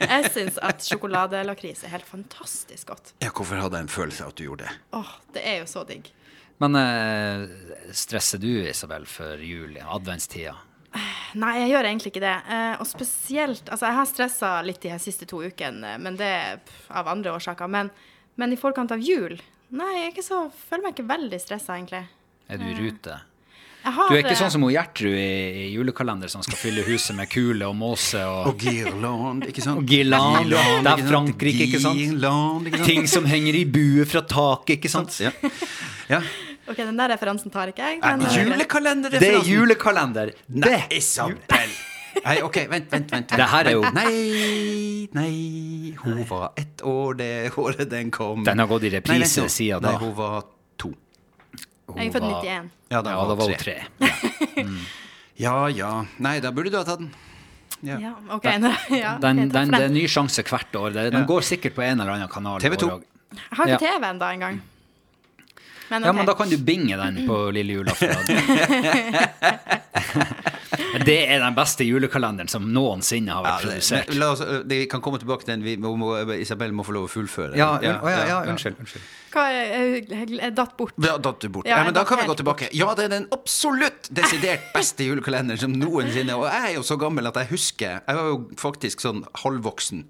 Speaker 3: Jeg syns at sjokoladelakris er helt fantastisk godt.
Speaker 2: Ja, hvorfor hadde jeg en følelse av at du gjorde det?
Speaker 3: Åh, det er jo så digg.
Speaker 1: Men eh, stresser du, Isabel, for jul i adventstida?
Speaker 3: Nei, jeg gjør egentlig ikke det. Eh, og spesielt Altså, jeg har stressa litt de her siste to ukene, eh, men det er pff, av andre årsaker. Men, men i forkant av jul Nei, jeg er ikke så, føler meg ikke veldig stressa, egentlig.
Speaker 1: Er
Speaker 3: Eh.
Speaker 1: du i rute?
Speaker 3: Jeg har, eh,
Speaker 1: Du er ikke sånn som hun Gjertrud i, i julekalender som skal fylle huset med kuler og måse og
Speaker 2: Og Girland, ikke sant?
Speaker 1: Og girland,
Speaker 2: Girland,
Speaker 1: det er
Speaker 2: ikke sant?
Speaker 1: Frankrike, ikke sant?
Speaker 2: Girland, ikke sant?
Speaker 1: ting som henger i buet fra taket, ikke sant?
Speaker 2: Ja. ja.
Speaker 3: Ok, den der referansen tar ikke jeg. men- eh,
Speaker 2: Julekalenderreferansen!
Speaker 1: Det er julekalender!
Speaker 2: Nei,
Speaker 1: Det!
Speaker 2: Isabel! Nei, OK, vent, vent, vent.
Speaker 1: Det her er jo-
Speaker 2: Nei, nei. Hun var ett år det året den kom.
Speaker 1: Den har gått i reprise
Speaker 2: Nei, vent nå.
Speaker 1: siden da.
Speaker 2: Nei, hun var to.
Speaker 3: Jeg er født
Speaker 1: Hun var-
Speaker 3: 91.
Speaker 1: Ja, da var hun tre.
Speaker 2: Ja ja. Nei, da burde du ha tatt den. Ja.
Speaker 3: Ja, OK. nå- Ja, ok,
Speaker 1: Den, den,
Speaker 3: takk for
Speaker 1: det er
Speaker 3: den.
Speaker 1: ny sjanse hvert år. Den den går sikkert på en eller annen kanal.
Speaker 2: TV2.
Speaker 1: hver dag.
Speaker 3: Jeg har ikke
Speaker 1: ja.
Speaker 3: TV ennå engang. Men,
Speaker 1: Ja,
Speaker 3: ok.
Speaker 1: men da kan du binge den på lille julaften. Det er den beste julekalenderen som noensinne har
Speaker 2: Ja,
Speaker 1: vært
Speaker 2: det,
Speaker 1: produsert.
Speaker 2: men la oss, eh, vi kan komme tilbake til den. Vi må, må, Isabel må få lov å fullføre.
Speaker 1: Ja, un- å ja, ja, unnskyld. unnskyld.
Speaker 3: Hva, jeg, jeg, jeg datt bort.
Speaker 2: Da datt du bort.
Speaker 3: Ja,
Speaker 2: Ja, men
Speaker 3: jeg
Speaker 2: da
Speaker 3: datt
Speaker 2: kan vi gå
Speaker 3: helt
Speaker 2: tilbake. Ja, det er den absolutt desidert beste julekalenderen som noensinne Og jeg er jo så gammel at jeg husker Jeg var jo faktisk sånn halvvoksen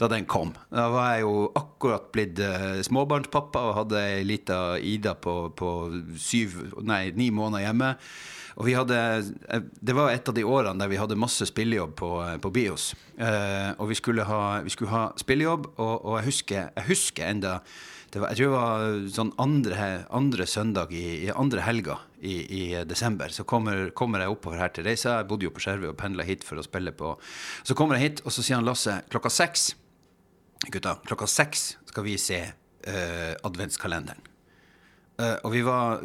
Speaker 2: da den kom. Da var jeg jo akkurat blitt eh, småbarnspappa og hadde ei lita Ida på, på syv, nei, ni måneder hjemme. Og vi hadde eh, Det var et av de årene der vi hadde masse spillejobb på, på BIOS. Eh, og vi skulle ha, vi skulle ha spillejobb, og, og jeg husker, jeg husker enda det var, jeg tror det var sånn andre, andre søndag i, i andre helga i, i desember. Så kommer, kommer jeg oppover her til reisa. Jeg bodde jo på Skjervøy og pendla hit for å spille på. Så kommer jeg hit, og så sier han Lasse klokka seks Gutta, klokka seks skal vi se eh, adventskalenderen. Eh, og vi var,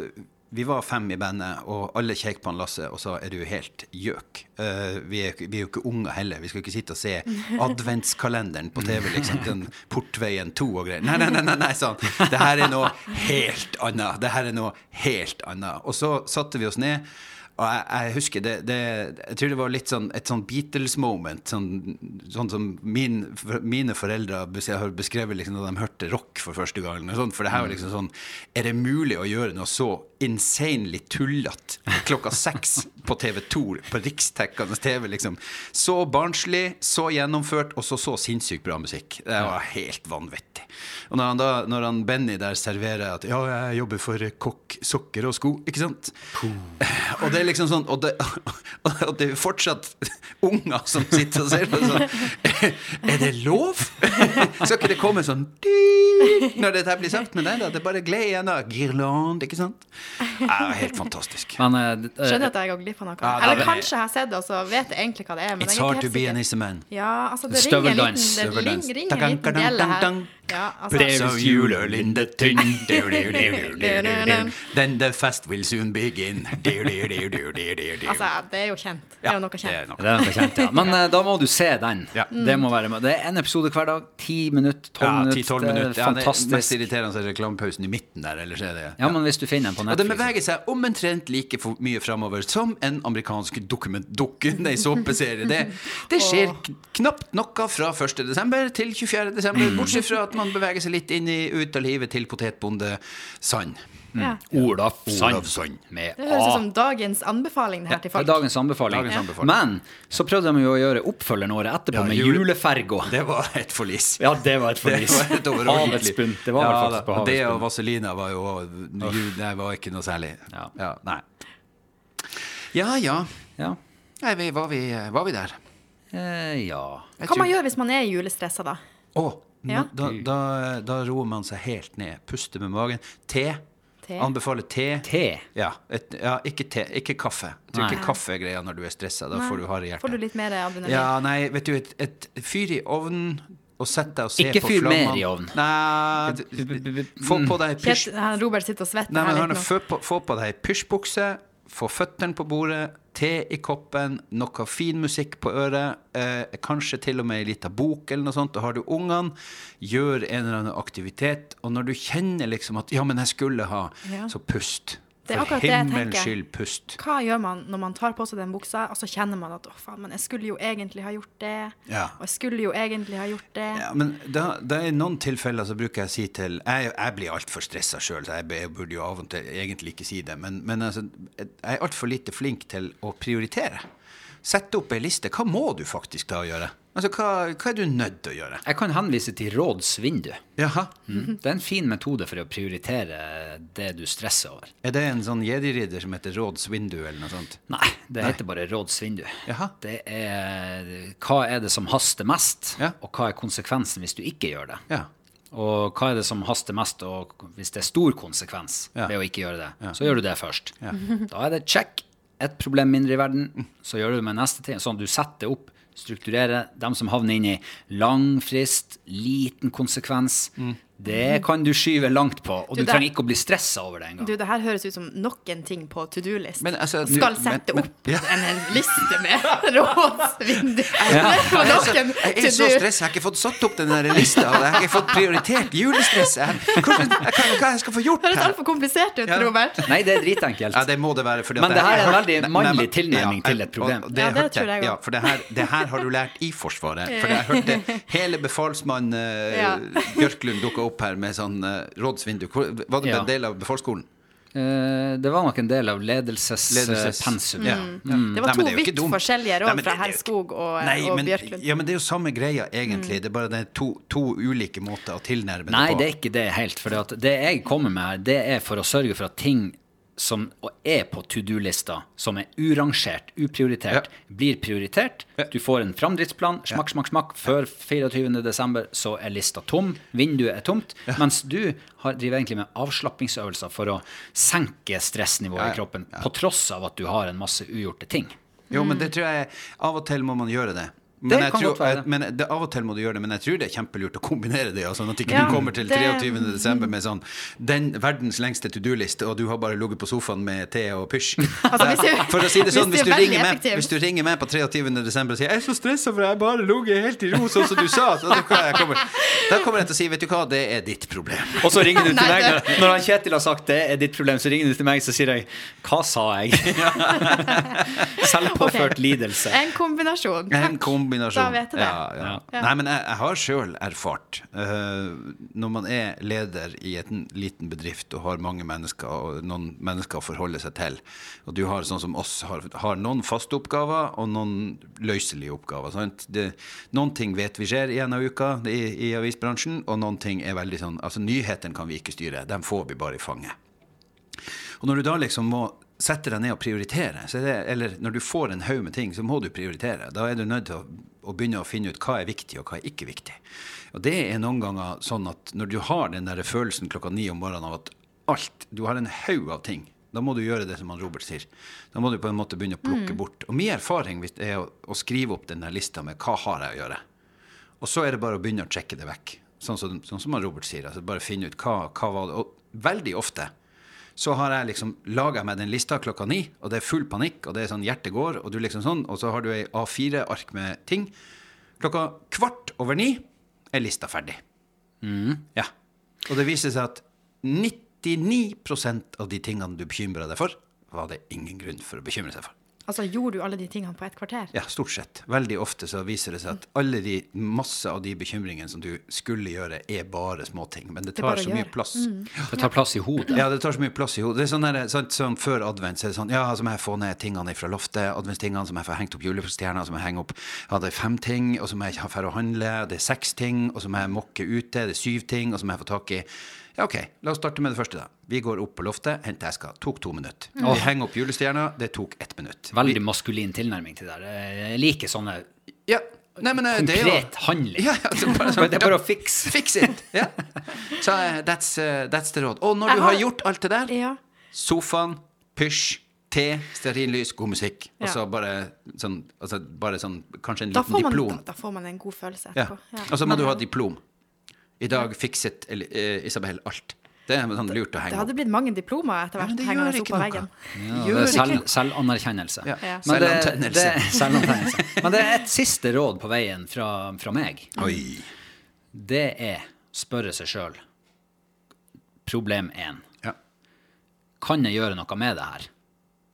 Speaker 2: vi var fem i bandet, og alle kjekk på han Lasse og sa er du helt gjøk. Eh, vi, er, vi er jo ikke unger heller, vi skal jo ikke sitte og se adventskalenderen på TV. liksom, den Portveien 2 og greier. Nei, nei, nei, nei, nei sa han. Det her er noe helt annet. Det her er noe helt annet. Og så satte vi oss ned. Og jeg, jeg husker det, det Jeg tror det var litt sånn et sånn Beatles-moment. Sånn, sånn som min, for, mine foreldre bes- har beskrevet liksom, da de hørte rock for første gang. Og sånt, for det her var liksom sånn Er det mulig å gjøre noe så insanely tullete klokka seks på TV2 på rikstekkende TV? liksom Så barnslig, så gjennomført, og så så sinnssykt bra musikk. Det var helt vanvittig. Og når han, da, når han Benny der serverer at Ja, jeg jobber for kokk, sokker og sko, ikke sant? Og det er liksom sånn Og det, og det er fortsatt unger som sitter og ser på det sånn Er det lov? Skal ikke det komme sånn «dyt» når dette blir sagt? Men nei da, det bare gled gjennom. Girland, ikke sant? Det var helt fantastisk.
Speaker 1: Men eh, d- eh,
Speaker 3: Skjønner at jeg går glipp av noe.
Speaker 2: Ja, da-
Speaker 3: Eller kanskje jeg har sett det, og så vet jeg egentlig hva det er. Men
Speaker 2: It's
Speaker 3: jeg er
Speaker 2: hard
Speaker 3: ikke
Speaker 2: to
Speaker 3: helt
Speaker 2: be an
Speaker 3: sikker.
Speaker 2: easy man.
Speaker 3: Ja, altså det ringer
Speaker 1: Støveldans,
Speaker 3: en liten, det
Speaker 2: støveldans.
Speaker 3: ring, ringer en liten
Speaker 2: Dang, dang,
Speaker 3: bjelle
Speaker 2: dang,
Speaker 3: her.
Speaker 2: dang.
Speaker 3: Ja,
Speaker 1: Brev.
Speaker 3: altså.
Speaker 1: There's jule in the tun.
Speaker 2: Then the fest will soon begin. Altså,
Speaker 3: altså, det er jo kjent. Det er jo noe kjent.
Speaker 1: Det er noe kjent, ja. Men eh, da må du se den.
Speaker 2: Ja.
Speaker 1: Det må være med. Det er en episode hver dag. Ti minutter, tolv
Speaker 2: Ja,
Speaker 1: minutter.
Speaker 2: 10-12
Speaker 1: Det er
Speaker 3: eh,
Speaker 2: minutter. Ja, det-
Speaker 1: eh, Fantastisk
Speaker 2: mest
Speaker 1: fantastisk.
Speaker 2: irriterende er reklamepausen i midten der, ellers er det
Speaker 1: Ja, men hvis du finner den på
Speaker 2: Og den
Speaker 1: Netflix
Speaker 2: beveger seg omtrent like for mye framover som en amerikansk dokument, dukke, nei, såpeserie. Det, det skjer k- knapt noe fra 1.12. til 24.12.,
Speaker 1: Mm.
Speaker 2: bortsett fra at man beveger seg litt inn i ut av livet til potetbonde Sand.
Speaker 3: Ja.
Speaker 1: Olaf
Speaker 2: Olav Sand.
Speaker 1: Sand. Med
Speaker 3: Det høres
Speaker 1: A.
Speaker 3: ut som dagens anbefaling det her til
Speaker 1: Det er
Speaker 3: folk.
Speaker 1: dagens anbefaling.
Speaker 2: Dagens anbefaling.
Speaker 1: Men så prøvde de jo å gjøre oppfølgeren året etterpå
Speaker 2: Ja,
Speaker 1: med
Speaker 2: jule-
Speaker 1: juleferga.
Speaker 2: Det var et forlis.
Speaker 1: Ja, det var et
Speaker 2: Det
Speaker 1: forlis.
Speaker 2: var et overordentlig-
Speaker 1: Havets bunt. Det var vel
Speaker 2: Ja,
Speaker 1: faktisk
Speaker 2: da.
Speaker 1: på
Speaker 2: Det
Speaker 1: havets
Speaker 2: og
Speaker 1: bunt.
Speaker 2: Vaselina var jo Gud, det var ikke noe særlig.
Speaker 1: Ja.
Speaker 2: Ja, nei. ja. ja.
Speaker 1: Ja.
Speaker 2: Nei, vi, var, vi, var vi der?
Speaker 1: Eh, ja.
Speaker 2: Jeg
Speaker 3: Hva
Speaker 2: tror-
Speaker 3: man gjør hvis man er julestressa, da?
Speaker 2: Å, nå-
Speaker 3: Ja.
Speaker 2: da, da, da roer man seg helt ned. Puster med magen. Te.
Speaker 3: Te.
Speaker 2: Anbefaler te.
Speaker 1: Te.
Speaker 2: Ja, et, ja, ikke te, ikke kaffe. Jeg tror
Speaker 1: Nei.
Speaker 2: ikke kaffe er greia når du er stressa. Da får du harde hjertet.
Speaker 3: Får du litt mer adrenalin?
Speaker 2: Ja, nei, vet du, et, et fyr i ovnen og sett deg og se
Speaker 1: Ikke
Speaker 2: på
Speaker 1: fyr mer
Speaker 2: flammene.
Speaker 1: i ovnen.
Speaker 2: Nei, d- d- få på deg pysj...
Speaker 3: Kjet, han Robert sitter og svetter
Speaker 2: Nei, men
Speaker 3: her
Speaker 2: hør
Speaker 3: litt
Speaker 2: nå,
Speaker 3: nå.
Speaker 2: få på, få på deg pysjbukse, få føttene på bordet, te i koppen, noe fin musikk på øret, eh, kanskje til og med ei lita bok eller noe sånt, og har du ungene, gjør en eller annen aktivitet, og når du kjenner liksom at 'ja, men jeg skulle ha',
Speaker 3: Ja.
Speaker 2: så pust.
Speaker 3: Det er
Speaker 2: For
Speaker 3: akkurat det jeg
Speaker 2: himmels
Speaker 3: tenker.
Speaker 2: skyld, pust.
Speaker 3: Hva gjør man når man tar på seg den buksa, og så kjenner man at 'å, faen, men jeg skulle jo egentlig ha gjort det',
Speaker 2: Ja.
Speaker 3: og 'jeg skulle jo egentlig ha gjort det'.
Speaker 2: Ja, men da, da I noen tilfeller så bruker jeg å si til Jeg, jeg blir altfor stressa sjøl, så jeg, b- jeg burde jo av og til egentlig ikke si det. Men, men altså, jeg er altfor lite flink til å prioritere. Sette opp ei liste. Hva må du faktisk da gjøre? Altså, Hva, hva er du nødt til å gjøre?
Speaker 1: Jeg kan henvise til rådsvindu.
Speaker 2: Jaha.
Speaker 1: Det er en fin metode for å prioritere det du stresser over.
Speaker 2: Er det en sånn jedi-ridder som heter Rådsvindu eller noe sånt?
Speaker 1: Nei, det heter bare rådsvindu.
Speaker 2: Jaha.
Speaker 1: Det er hva er det som haster mest,
Speaker 2: Ja.
Speaker 1: og hva er konsekvensen hvis du ikke gjør det.
Speaker 2: Ja.
Speaker 1: Og hva er det som haster mest, og hvis det er stor konsekvens
Speaker 2: Ja.
Speaker 1: ved å ikke gjøre det, så gjør du det først. Da er det check. Ett problem mindre i verden, så gjør du det med neste ting. Sånn du setter opp, strukturerer. Dem som havner inn i lang frist, liten konsekvens,
Speaker 2: Mm.
Speaker 1: det kan du skyve langt på. Og
Speaker 3: Du,
Speaker 1: du
Speaker 3: det-
Speaker 1: trenger ikke å bli stressa over det engang.
Speaker 3: Du, det her høres ut som nok en ting på to do-list.
Speaker 2: Men altså,
Speaker 3: Og Skal
Speaker 2: nu-
Speaker 3: sette
Speaker 2: men- men-
Speaker 3: opp
Speaker 2: Ja.
Speaker 3: en liste med rådsvindu. Det var
Speaker 2: Jeg er så,
Speaker 3: nok en
Speaker 2: jeg er så
Speaker 3: to do.
Speaker 2: stressa. Jeg har ikke fått satt opp den der lista. Og jeg har ikke fått prioritert julestress. Jeg, hvordan, jeg, kan- hva jeg skal få gjort
Speaker 3: Høres
Speaker 2: her?
Speaker 3: altfor komplisert ut,
Speaker 2: Ja.
Speaker 3: Robert.
Speaker 1: Nei, det er dritenkelt.
Speaker 2: Ja, det må det være. Fordi at
Speaker 1: Men det her
Speaker 2: jeg-
Speaker 1: er en veldig
Speaker 2: Nei,
Speaker 1: mannlig
Speaker 2: nei, men-
Speaker 1: tilnærming
Speaker 2: ja,
Speaker 1: til et problem.
Speaker 2: og- og
Speaker 3: Ja, det
Speaker 2: hørte
Speaker 3: tror jeg
Speaker 2: Ja,
Speaker 3: også.
Speaker 2: for det her, det her har du lært i Forsvaret. For jeg hørte hele befalsmann eh,
Speaker 3: Ja.
Speaker 2: Bjørklund dukke opp her med sånn eh, rådsvindu. Hvor- Var det
Speaker 1: Ja.
Speaker 2: en del av befalsskolen?
Speaker 1: Eh, det var nok en del av
Speaker 2: Ledelses-
Speaker 1: ledelsespensum.
Speaker 2: Ja. Ja.
Speaker 3: Mm. Det
Speaker 2: Nei,
Speaker 3: var
Speaker 2: men
Speaker 3: to
Speaker 2: det er jo ikke
Speaker 3: vidt
Speaker 2: dumt.
Speaker 3: forskjellige råd
Speaker 2: Nei, men
Speaker 3: fra
Speaker 2: det- det er jo
Speaker 3: herr Skog og- eh,
Speaker 2: Nei,
Speaker 3: og
Speaker 2: men-
Speaker 3: Bjørklund. Mm.
Speaker 2: Ja, men det er jo samme greia, egentlig. Det er bare det er to, to ulike måter å tilnærme det
Speaker 1: Nei,
Speaker 2: på.
Speaker 1: det er ikke det helt. For det jeg kommer med her, det er for å sørge for at ting som er på to do-lista, som er urangert, uprioritert, blir prioritert. Du får en framdriftsplan. Smakk, smakk, smakk. Før 24.12. så er lista tom. Vinduet er tomt. Mens du har, driver egentlig med avslappingsøvelser for å senke stressnivået i kroppen, på tross av at du har en masse ugjorte ting.
Speaker 2: Jo,
Speaker 3: Mm.
Speaker 2: men det tror jeg Av og til må man gjøre det. Men
Speaker 1: Det
Speaker 2: jeg
Speaker 1: kan
Speaker 2: tror,
Speaker 1: godt være det.
Speaker 2: Men det, av og til må du gjøre det, men jeg tror det er kjempelurt å kombinere det. Altså, sånn at ikke
Speaker 3: Ja,
Speaker 2: du kommer til
Speaker 3: det- mm.
Speaker 2: 23. desember med sånn den verdens lengste to do-liste, og du har bare ligget på sofaen med te og pysj.
Speaker 3: Altså, hvis du-
Speaker 2: for å si det sånn, hvis
Speaker 3: hvis du
Speaker 2: du,
Speaker 3: er veldig
Speaker 2: ringer meg,
Speaker 3: effektiv.
Speaker 2: hvis du ringer meg på 23. desember og sier 'Jeg er så stressa, for jeg har bare ligget helt i ro, sånn som du sa', så da kan jeg komme- da kommer jeg til å si 'Vet du hva, det er ditt problem'.
Speaker 1: Og så ringer du til
Speaker 3: Nei,
Speaker 1: meg når,
Speaker 3: det-
Speaker 1: når han Kjetil har sagt det er ditt problem, så ringer du til meg, så sier jeg hva sa jeg? Selvpåført
Speaker 3: Ok.
Speaker 1: lidelse.
Speaker 3: En kombinasjon.
Speaker 2: En kombinasjon.
Speaker 3: Da vet jeg det.
Speaker 2: Ja, ja.
Speaker 3: Ja.
Speaker 2: Nei, men jeg, jeg har sjøl erfart eh, Når man er leder i en liten bedrift og har mange mennesker og noen mennesker å forholde seg til, og du har sånn som oss, har, har noen faste oppgaver og noen løselige oppgaver. Sant? Det, noen ting vet vi skjer i en av uka i, i avisbransjen, og noen ting er veldig sånn Altså, nyhetene kan vi ikke styre, dem får vi bare i fanget. Og når du da liksom må sette deg ned og prioritere, så er det, eller når du får en haug med ting, så må du prioritere. Da er du nødt til å, å begynne å finne ut hva er viktig, og hva er ikke viktig. Og det er noen ganger sånn at når du har den der følelsen klokka ni om morgenen av at alt, du har en haug av ting, da må du gjøre det som han Robert sier. Da må du på en måte begynne å plukke bort. Og min erfaring hvis- er å, å skrive opp den der lista med hva har jeg å gjøre. Og så er det bare å begynne å sjekke det vekk. Sånn som, sånn som han Robert sier. Altså bare finne ut hva, hva var det. Og veldig ofte så har jeg liksom laga meg den lista klokka ni, og det er full panikk, og det er sånn hjertet går, og du liksom sånn, og så har du ei A4-ark med ting. Klokka kvart over ni er lista ferdig. Ja. Og det viser seg at 99 av de tingene du bekymra deg for, var det ingen grunn for å bekymre seg for.
Speaker 3: Altså, gjorde du alle de tingene på et kvarter?
Speaker 2: Ja, stort sett. Veldig ofte så viser det seg at alle de masse av de bekymringene som du skulle gjøre, er bare småting. Men det
Speaker 3: er bare
Speaker 2: tar
Speaker 3: å
Speaker 2: så mye
Speaker 3: gjøre. Mm.
Speaker 2: plass.
Speaker 1: Det tar plass i hodet.
Speaker 2: Ja, det tar så mye plass i hodet. Det er sånn der, sant, sånn Før advent så er det sånn Ja, så må jeg få ned tingene fra loftet. Adventstingene som jeg får hengt opp julestjerner, som jeg henger opp. Ja, det er fem ting, og så må jeg dra og handle. Det er seks ting, og så må jeg mokke ute. Det er syv ting, og så må jeg få tak i Ja, OK, la oss starte med det første, da. Vi går opp på loftet, henter eska. Tok to minutter.
Speaker 3: Mm.
Speaker 2: Vi henger opp julestjerna. Det tok ett minutt.
Speaker 1: Veldig maskulin tilnærming til det der. Jeg liker sånne
Speaker 2: Ja. Nei, men, eh, det er jo-
Speaker 1: konkret handling.
Speaker 2: Ja, ja, det er bare,
Speaker 1: Det er bare å fikse.
Speaker 2: Fix it! Ja. Så eh, that's, eh, that's the råd. Og når du
Speaker 3: Jeg
Speaker 2: har
Speaker 3: har-
Speaker 2: gjort alt det der,
Speaker 3: Ja.
Speaker 2: sofaen, pysj, te, stearinlys, god musikk, og
Speaker 3: Ja.
Speaker 2: så bare sånn, altså, bare sånn kanskje en
Speaker 3: Da får,
Speaker 2: liten
Speaker 3: man,
Speaker 2: diplom.
Speaker 3: da, da får man en god følelse
Speaker 2: Ja.
Speaker 3: etterpå. Ja. eh,
Speaker 2: Og så må du ha diplom. I dag fikset Eli- eh, Isabel alt. Det er sånn lurt å
Speaker 3: Det
Speaker 2: henge opp.
Speaker 3: hadde blitt mange diplomer etter
Speaker 2: Ja, men
Speaker 3: hvert
Speaker 2: det gjør
Speaker 3: hengende opp
Speaker 2: ikke
Speaker 3: på
Speaker 2: noe.
Speaker 3: veggen.
Speaker 1: Ja, det er selv, selvanerkjennelse.
Speaker 2: Ja.
Speaker 3: Ja.
Speaker 1: Men det-
Speaker 2: Selvantennelse.
Speaker 1: det- Selvantennelse. Men det er et siste råd på veien fra, fra meg.
Speaker 2: Oi.
Speaker 1: Det er spørre seg sjøl. Problem én.
Speaker 2: Ja.
Speaker 1: Kan jeg gjøre noe med det her?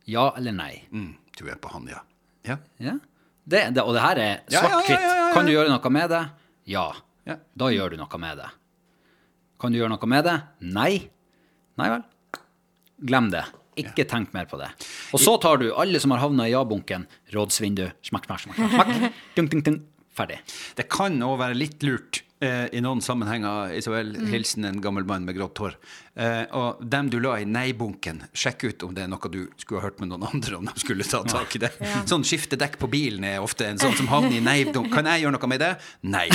Speaker 1: Ja eller nei?
Speaker 2: Mm, du er på han, ja. ja.
Speaker 1: Ja. Det, det, og det her er
Speaker 2: Ja, ja, ja,
Speaker 1: svart-hvitt.
Speaker 2: ja, ja, ja.
Speaker 1: Kan du gjøre noe med det? Ja.
Speaker 2: Ja.
Speaker 1: Da gjør du noe med det. Kan du gjøre noe med det? Nei. Nei vel. Glem det. Ikke tenk mer på det. Og så tar du alle som har havna i ja-bunken, rådsvindu, smakk, smakk, smakk. smakk, smakk. Dunk, dunk, dunk. Ferdig.
Speaker 2: Det kan òg være litt lurt eh, i noen sammenhenger, Isabel Hilsen, en gammel mann med grått hår. Eh, og dem du la i nei-bunken, sjekk ut om det er noe du skulle ha hørt med noen andre om de skulle ta tak i det. Sånn skifte dekk på bilen er ofte en sånn som havner i nei-bunken. Kan jeg gjøre noe med det? Nei.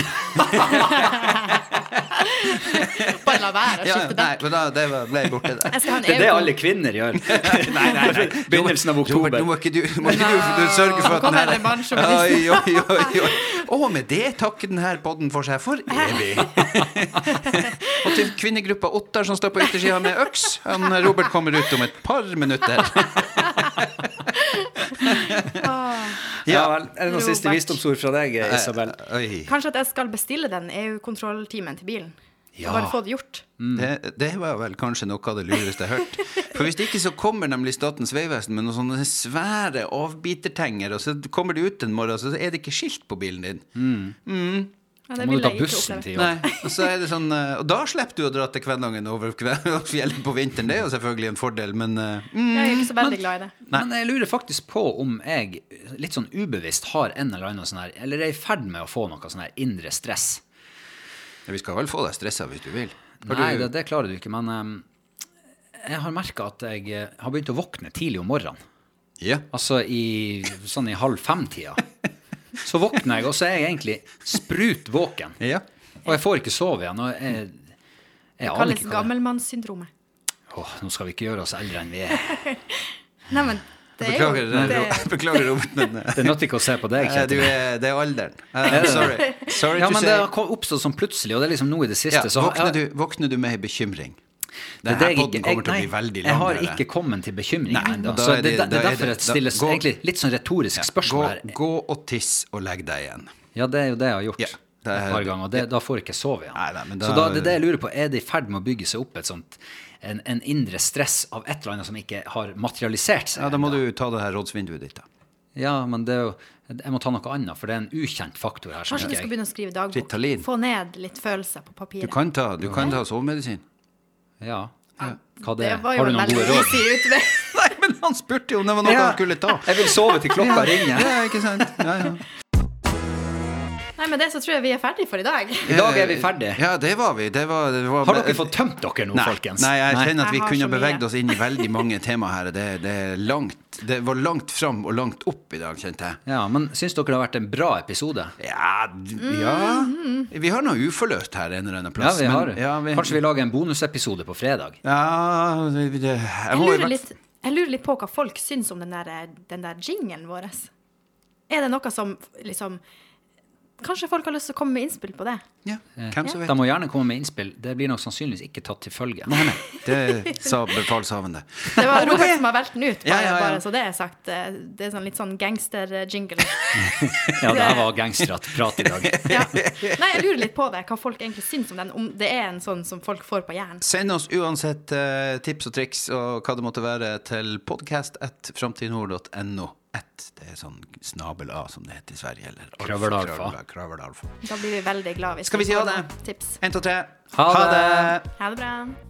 Speaker 3: Bare la være å
Speaker 2: Ja,
Speaker 3: skifte
Speaker 2: nei
Speaker 3: dekk.
Speaker 2: men da, det var- ble borte der.
Speaker 3: Jeg skal ha en
Speaker 1: Det er det alle
Speaker 3: EU-kontroll.
Speaker 1: kvinner gjør.
Speaker 2: Nei, nei, nei.
Speaker 1: Begynnelsen av
Speaker 2: Robert,
Speaker 1: oktober.
Speaker 2: nå må ikke du, må ikke du, du sørge for
Speaker 3: Nå
Speaker 2: at den
Speaker 3: kommer
Speaker 2: her
Speaker 3: revansjen.
Speaker 2: Oi, oi, oi, oi. Og med det takker denne podden for seg for evig. Og til kvinnegruppa Ottar som står på yttersida med øks. Han, Robert kommer ut om et par minutter.
Speaker 1: Ja vel. Er det noen siste
Speaker 3: Robert.
Speaker 1: visdomsord fra deg, Isabel?
Speaker 2: Oi.
Speaker 3: Kanskje at jeg skal bestille den EU-kontrolltimen til bilen.
Speaker 2: Ja.
Speaker 3: Bare få det gjort.
Speaker 1: Mm.
Speaker 2: Det, det var vel kanskje noe av det lureste jeg har hørt. For hvis ikke så kommer nemlig Statens vegvesen med noen sånne svære avbitertenger, og så kommer de ut en morgen, og så er det ikke skilt på bilen din.
Speaker 3: Ja,
Speaker 1: Da
Speaker 3: det
Speaker 1: må
Speaker 3: vil
Speaker 1: du ta
Speaker 3: jeg ikke
Speaker 1: bussen
Speaker 3: oppleve.
Speaker 1: til jobb.
Speaker 2: Nei, og så er det sånn eh, Og da slipper du å dra til Kvænangen over Kvæ- fjellet på vinteren. Det er jo selvfølgelig en fordel, men eh, mm,
Speaker 3: Jeg er ikke så veldig glad i det.
Speaker 1: Men jeg lurer faktisk på om jeg litt sånn ubevisst har en eller annen sånn her Eller er i ferd med å få noe sånn her indre stress.
Speaker 2: Vi skal vel få deg stressa hvis du vil. Har
Speaker 1: Nei,
Speaker 2: du,
Speaker 1: det, det klarer du ikke. Men eh, jeg har merka at jeg eh, har begynt å våkne tidlig om morgenen.
Speaker 2: ja.
Speaker 1: Altså i, sånn i halv fem-tida. Så våkner jeg, og så er jeg egentlig sprut våken.
Speaker 2: ja.
Speaker 1: Og jeg får ikke sove igjen. Og jeg, jeg aner
Speaker 3: Kalles
Speaker 1: ikke hva det
Speaker 3: gammelmannssyndromet.
Speaker 1: Åh, Nå skal vi ikke gjøre oss eldre enn vi er.
Speaker 3: Nei, men det er jo
Speaker 2: Beklager, det,
Speaker 3: det,
Speaker 2: Ro- beklager Robert, men eh,
Speaker 1: Det nytter ikke å se på deg,
Speaker 2: eh, du
Speaker 1: Kjetil.
Speaker 2: er, det er alderen. Eh, sorry. Sorry
Speaker 1: Ja,
Speaker 2: to
Speaker 1: men
Speaker 2: say.
Speaker 1: det har kom- oppstått sånn plutselig, og det er liksom nå i det
Speaker 2: Ja,
Speaker 1: siste. så har-
Speaker 2: våkner, du, våkner du med ei bekymring?
Speaker 1: Det er
Speaker 2: Denne
Speaker 1: det jeg ikke-
Speaker 2: podden kommer til å
Speaker 1: jeg-
Speaker 2: bli veldig
Speaker 1: Jeg
Speaker 2: lang.
Speaker 1: har
Speaker 2: dere.
Speaker 1: ikke kommet til bekymringen
Speaker 2: Nei,
Speaker 1: ennå.
Speaker 2: og da
Speaker 1: så
Speaker 2: er
Speaker 1: Det,
Speaker 2: det-
Speaker 1: det, det
Speaker 2: da er
Speaker 1: er derfor jeg
Speaker 2: det- da-
Speaker 1: stiller
Speaker 2: gå-
Speaker 1: egentlig litt sånn retorisk
Speaker 2: gå,
Speaker 1: spørsmål her.
Speaker 2: gå og tiss og legg deg igjen.
Speaker 1: Ja, det er jo det jeg har gjort
Speaker 2: Ja, det er-
Speaker 1: et par ganger. og Det, da får jeg ikke sove igjen.
Speaker 2: Nei, nei, men da-
Speaker 1: Så da, det er det jeg lurer på. Er det i ferd med å bygge seg opp et sånt, en, en indre stress av et eller annet som ikke har materialisert seg?
Speaker 2: Ja, Da må
Speaker 1: ennå?
Speaker 2: du ta det her rådsvinduet ditt, da.
Speaker 1: ja men det er jo, jeg må ta noe annet, for det er en ukjent faktor her. Som
Speaker 3: Kanskje du
Speaker 1: ikke
Speaker 3: skal
Speaker 1: jeg,
Speaker 3: begynne å skrive dagbok?
Speaker 2: Ritalin.
Speaker 3: Få ned litt følelser på
Speaker 2: Du
Speaker 3: papiret.
Speaker 2: kan ta, du kan ta sovemedisin.
Speaker 1: ja. Hva det,
Speaker 3: Det
Speaker 1: er?
Speaker 3: var jo
Speaker 1: har du
Speaker 3: en
Speaker 1: noen
Speaker 3: veldig
Speaker 1: gode råd?
Speaker 3: easy utvei.
Speaker 2: Nei, men han spurte jo om det var noe
Speaker 1: Ja.
Speaker 2: han skulle ta.
Speaker 1: Jeg vil sove til klokka ringer.
Speaker 2: Ja, ikke sant? Ja, ja.
Speaker 3: Nei, men det så tror jeg vi er ferdig for i dag.
Speaker 1: I dag er vi ferdige.
Speaker 2: Ja, det var vi. Det var, det var,
Speaker 1: Har dere fått tømt dere nå,
Speaker 2: Nei,
Speaker 1: folkens?
Speaker 2: nei, jeg kjenner at vi
Speaker 3: Jeg har
Speaker 2: kunne
Speaker 3: så mye.
Speaker 2: beveget oss inn i veldig mange temaer her. Det, det, er langt, det var langt fram og langt opp i dag, kjente jeg.
Speaker 1: Ja, men syns dere det har vært en bra episode?
Speaker 2: Ja, d- ja.
Speaker 3: Mhm.
Speaker 2: Vi har noe uforløst her en eller annen
Speaker 1: Ja,
Speaker 2: plass.
Speaker 1: vi
Speaker 2: men-
Speaker 1: har.
Speaker 2: Ja, vi,
Speaker 1: Kanskje vi lager en bonusepisode på fredag?
Speaker 2: Ja, det, det, jeg,
Speaker 3: Jeg
Speaker 2: må i
Speaker 3: lurer,
Speaker 2: hvert-
Speaker 3: litt, jeg lurer litt på hva folk eh, syns om den der, den der jingen vår. Er det noe som liksom Kanskje folk har lyst til å komme med innspill på det.
Speaker 2: Ja, hvem som vet.
Speaker 1: De må gjerne komme med innspill. Det blir nok sannsynligvis ikke tatt til følge.
Speaker 2: Nei, nei, det sa befalshavende.
Speaker 3: Det var Robert som har valgt den ut, bare,
Speaker 2: Ja, ja, ja.
Speaker 3: bare så det er sagt. Eh, Det er sånn litt sånn gangster-jingle.
Speaker 1: Ja, det her var gangsterprat i dag.
Speaker 3: Ja. Nei, jeg lurer litt på det, hva folk egentlig syns om den, om det er en sånn som folk får på hjernen.
Speaker 2: Send oss uansett eh, tips og triks og hva det måtte være til podcast.framtidnord.no. Et, det er sånn snabel A som det heter i Sverige. Eller alf,
Speaker 1: Krøvelalfa.
Speaker 2: krøvela- krøvelalfa.
Speaker 3: Da blir vi veldig glad hvis
Speaker 2: Skal vi
Speaker 3: vi
Speaker 2: si ha
Speaker 3: får
Speaker 2: det?
Speaker 3: noen tips.
Speaker 2: En, to, tre.
Speaker 1: Ha det.
Speaker 3: Ha det bra.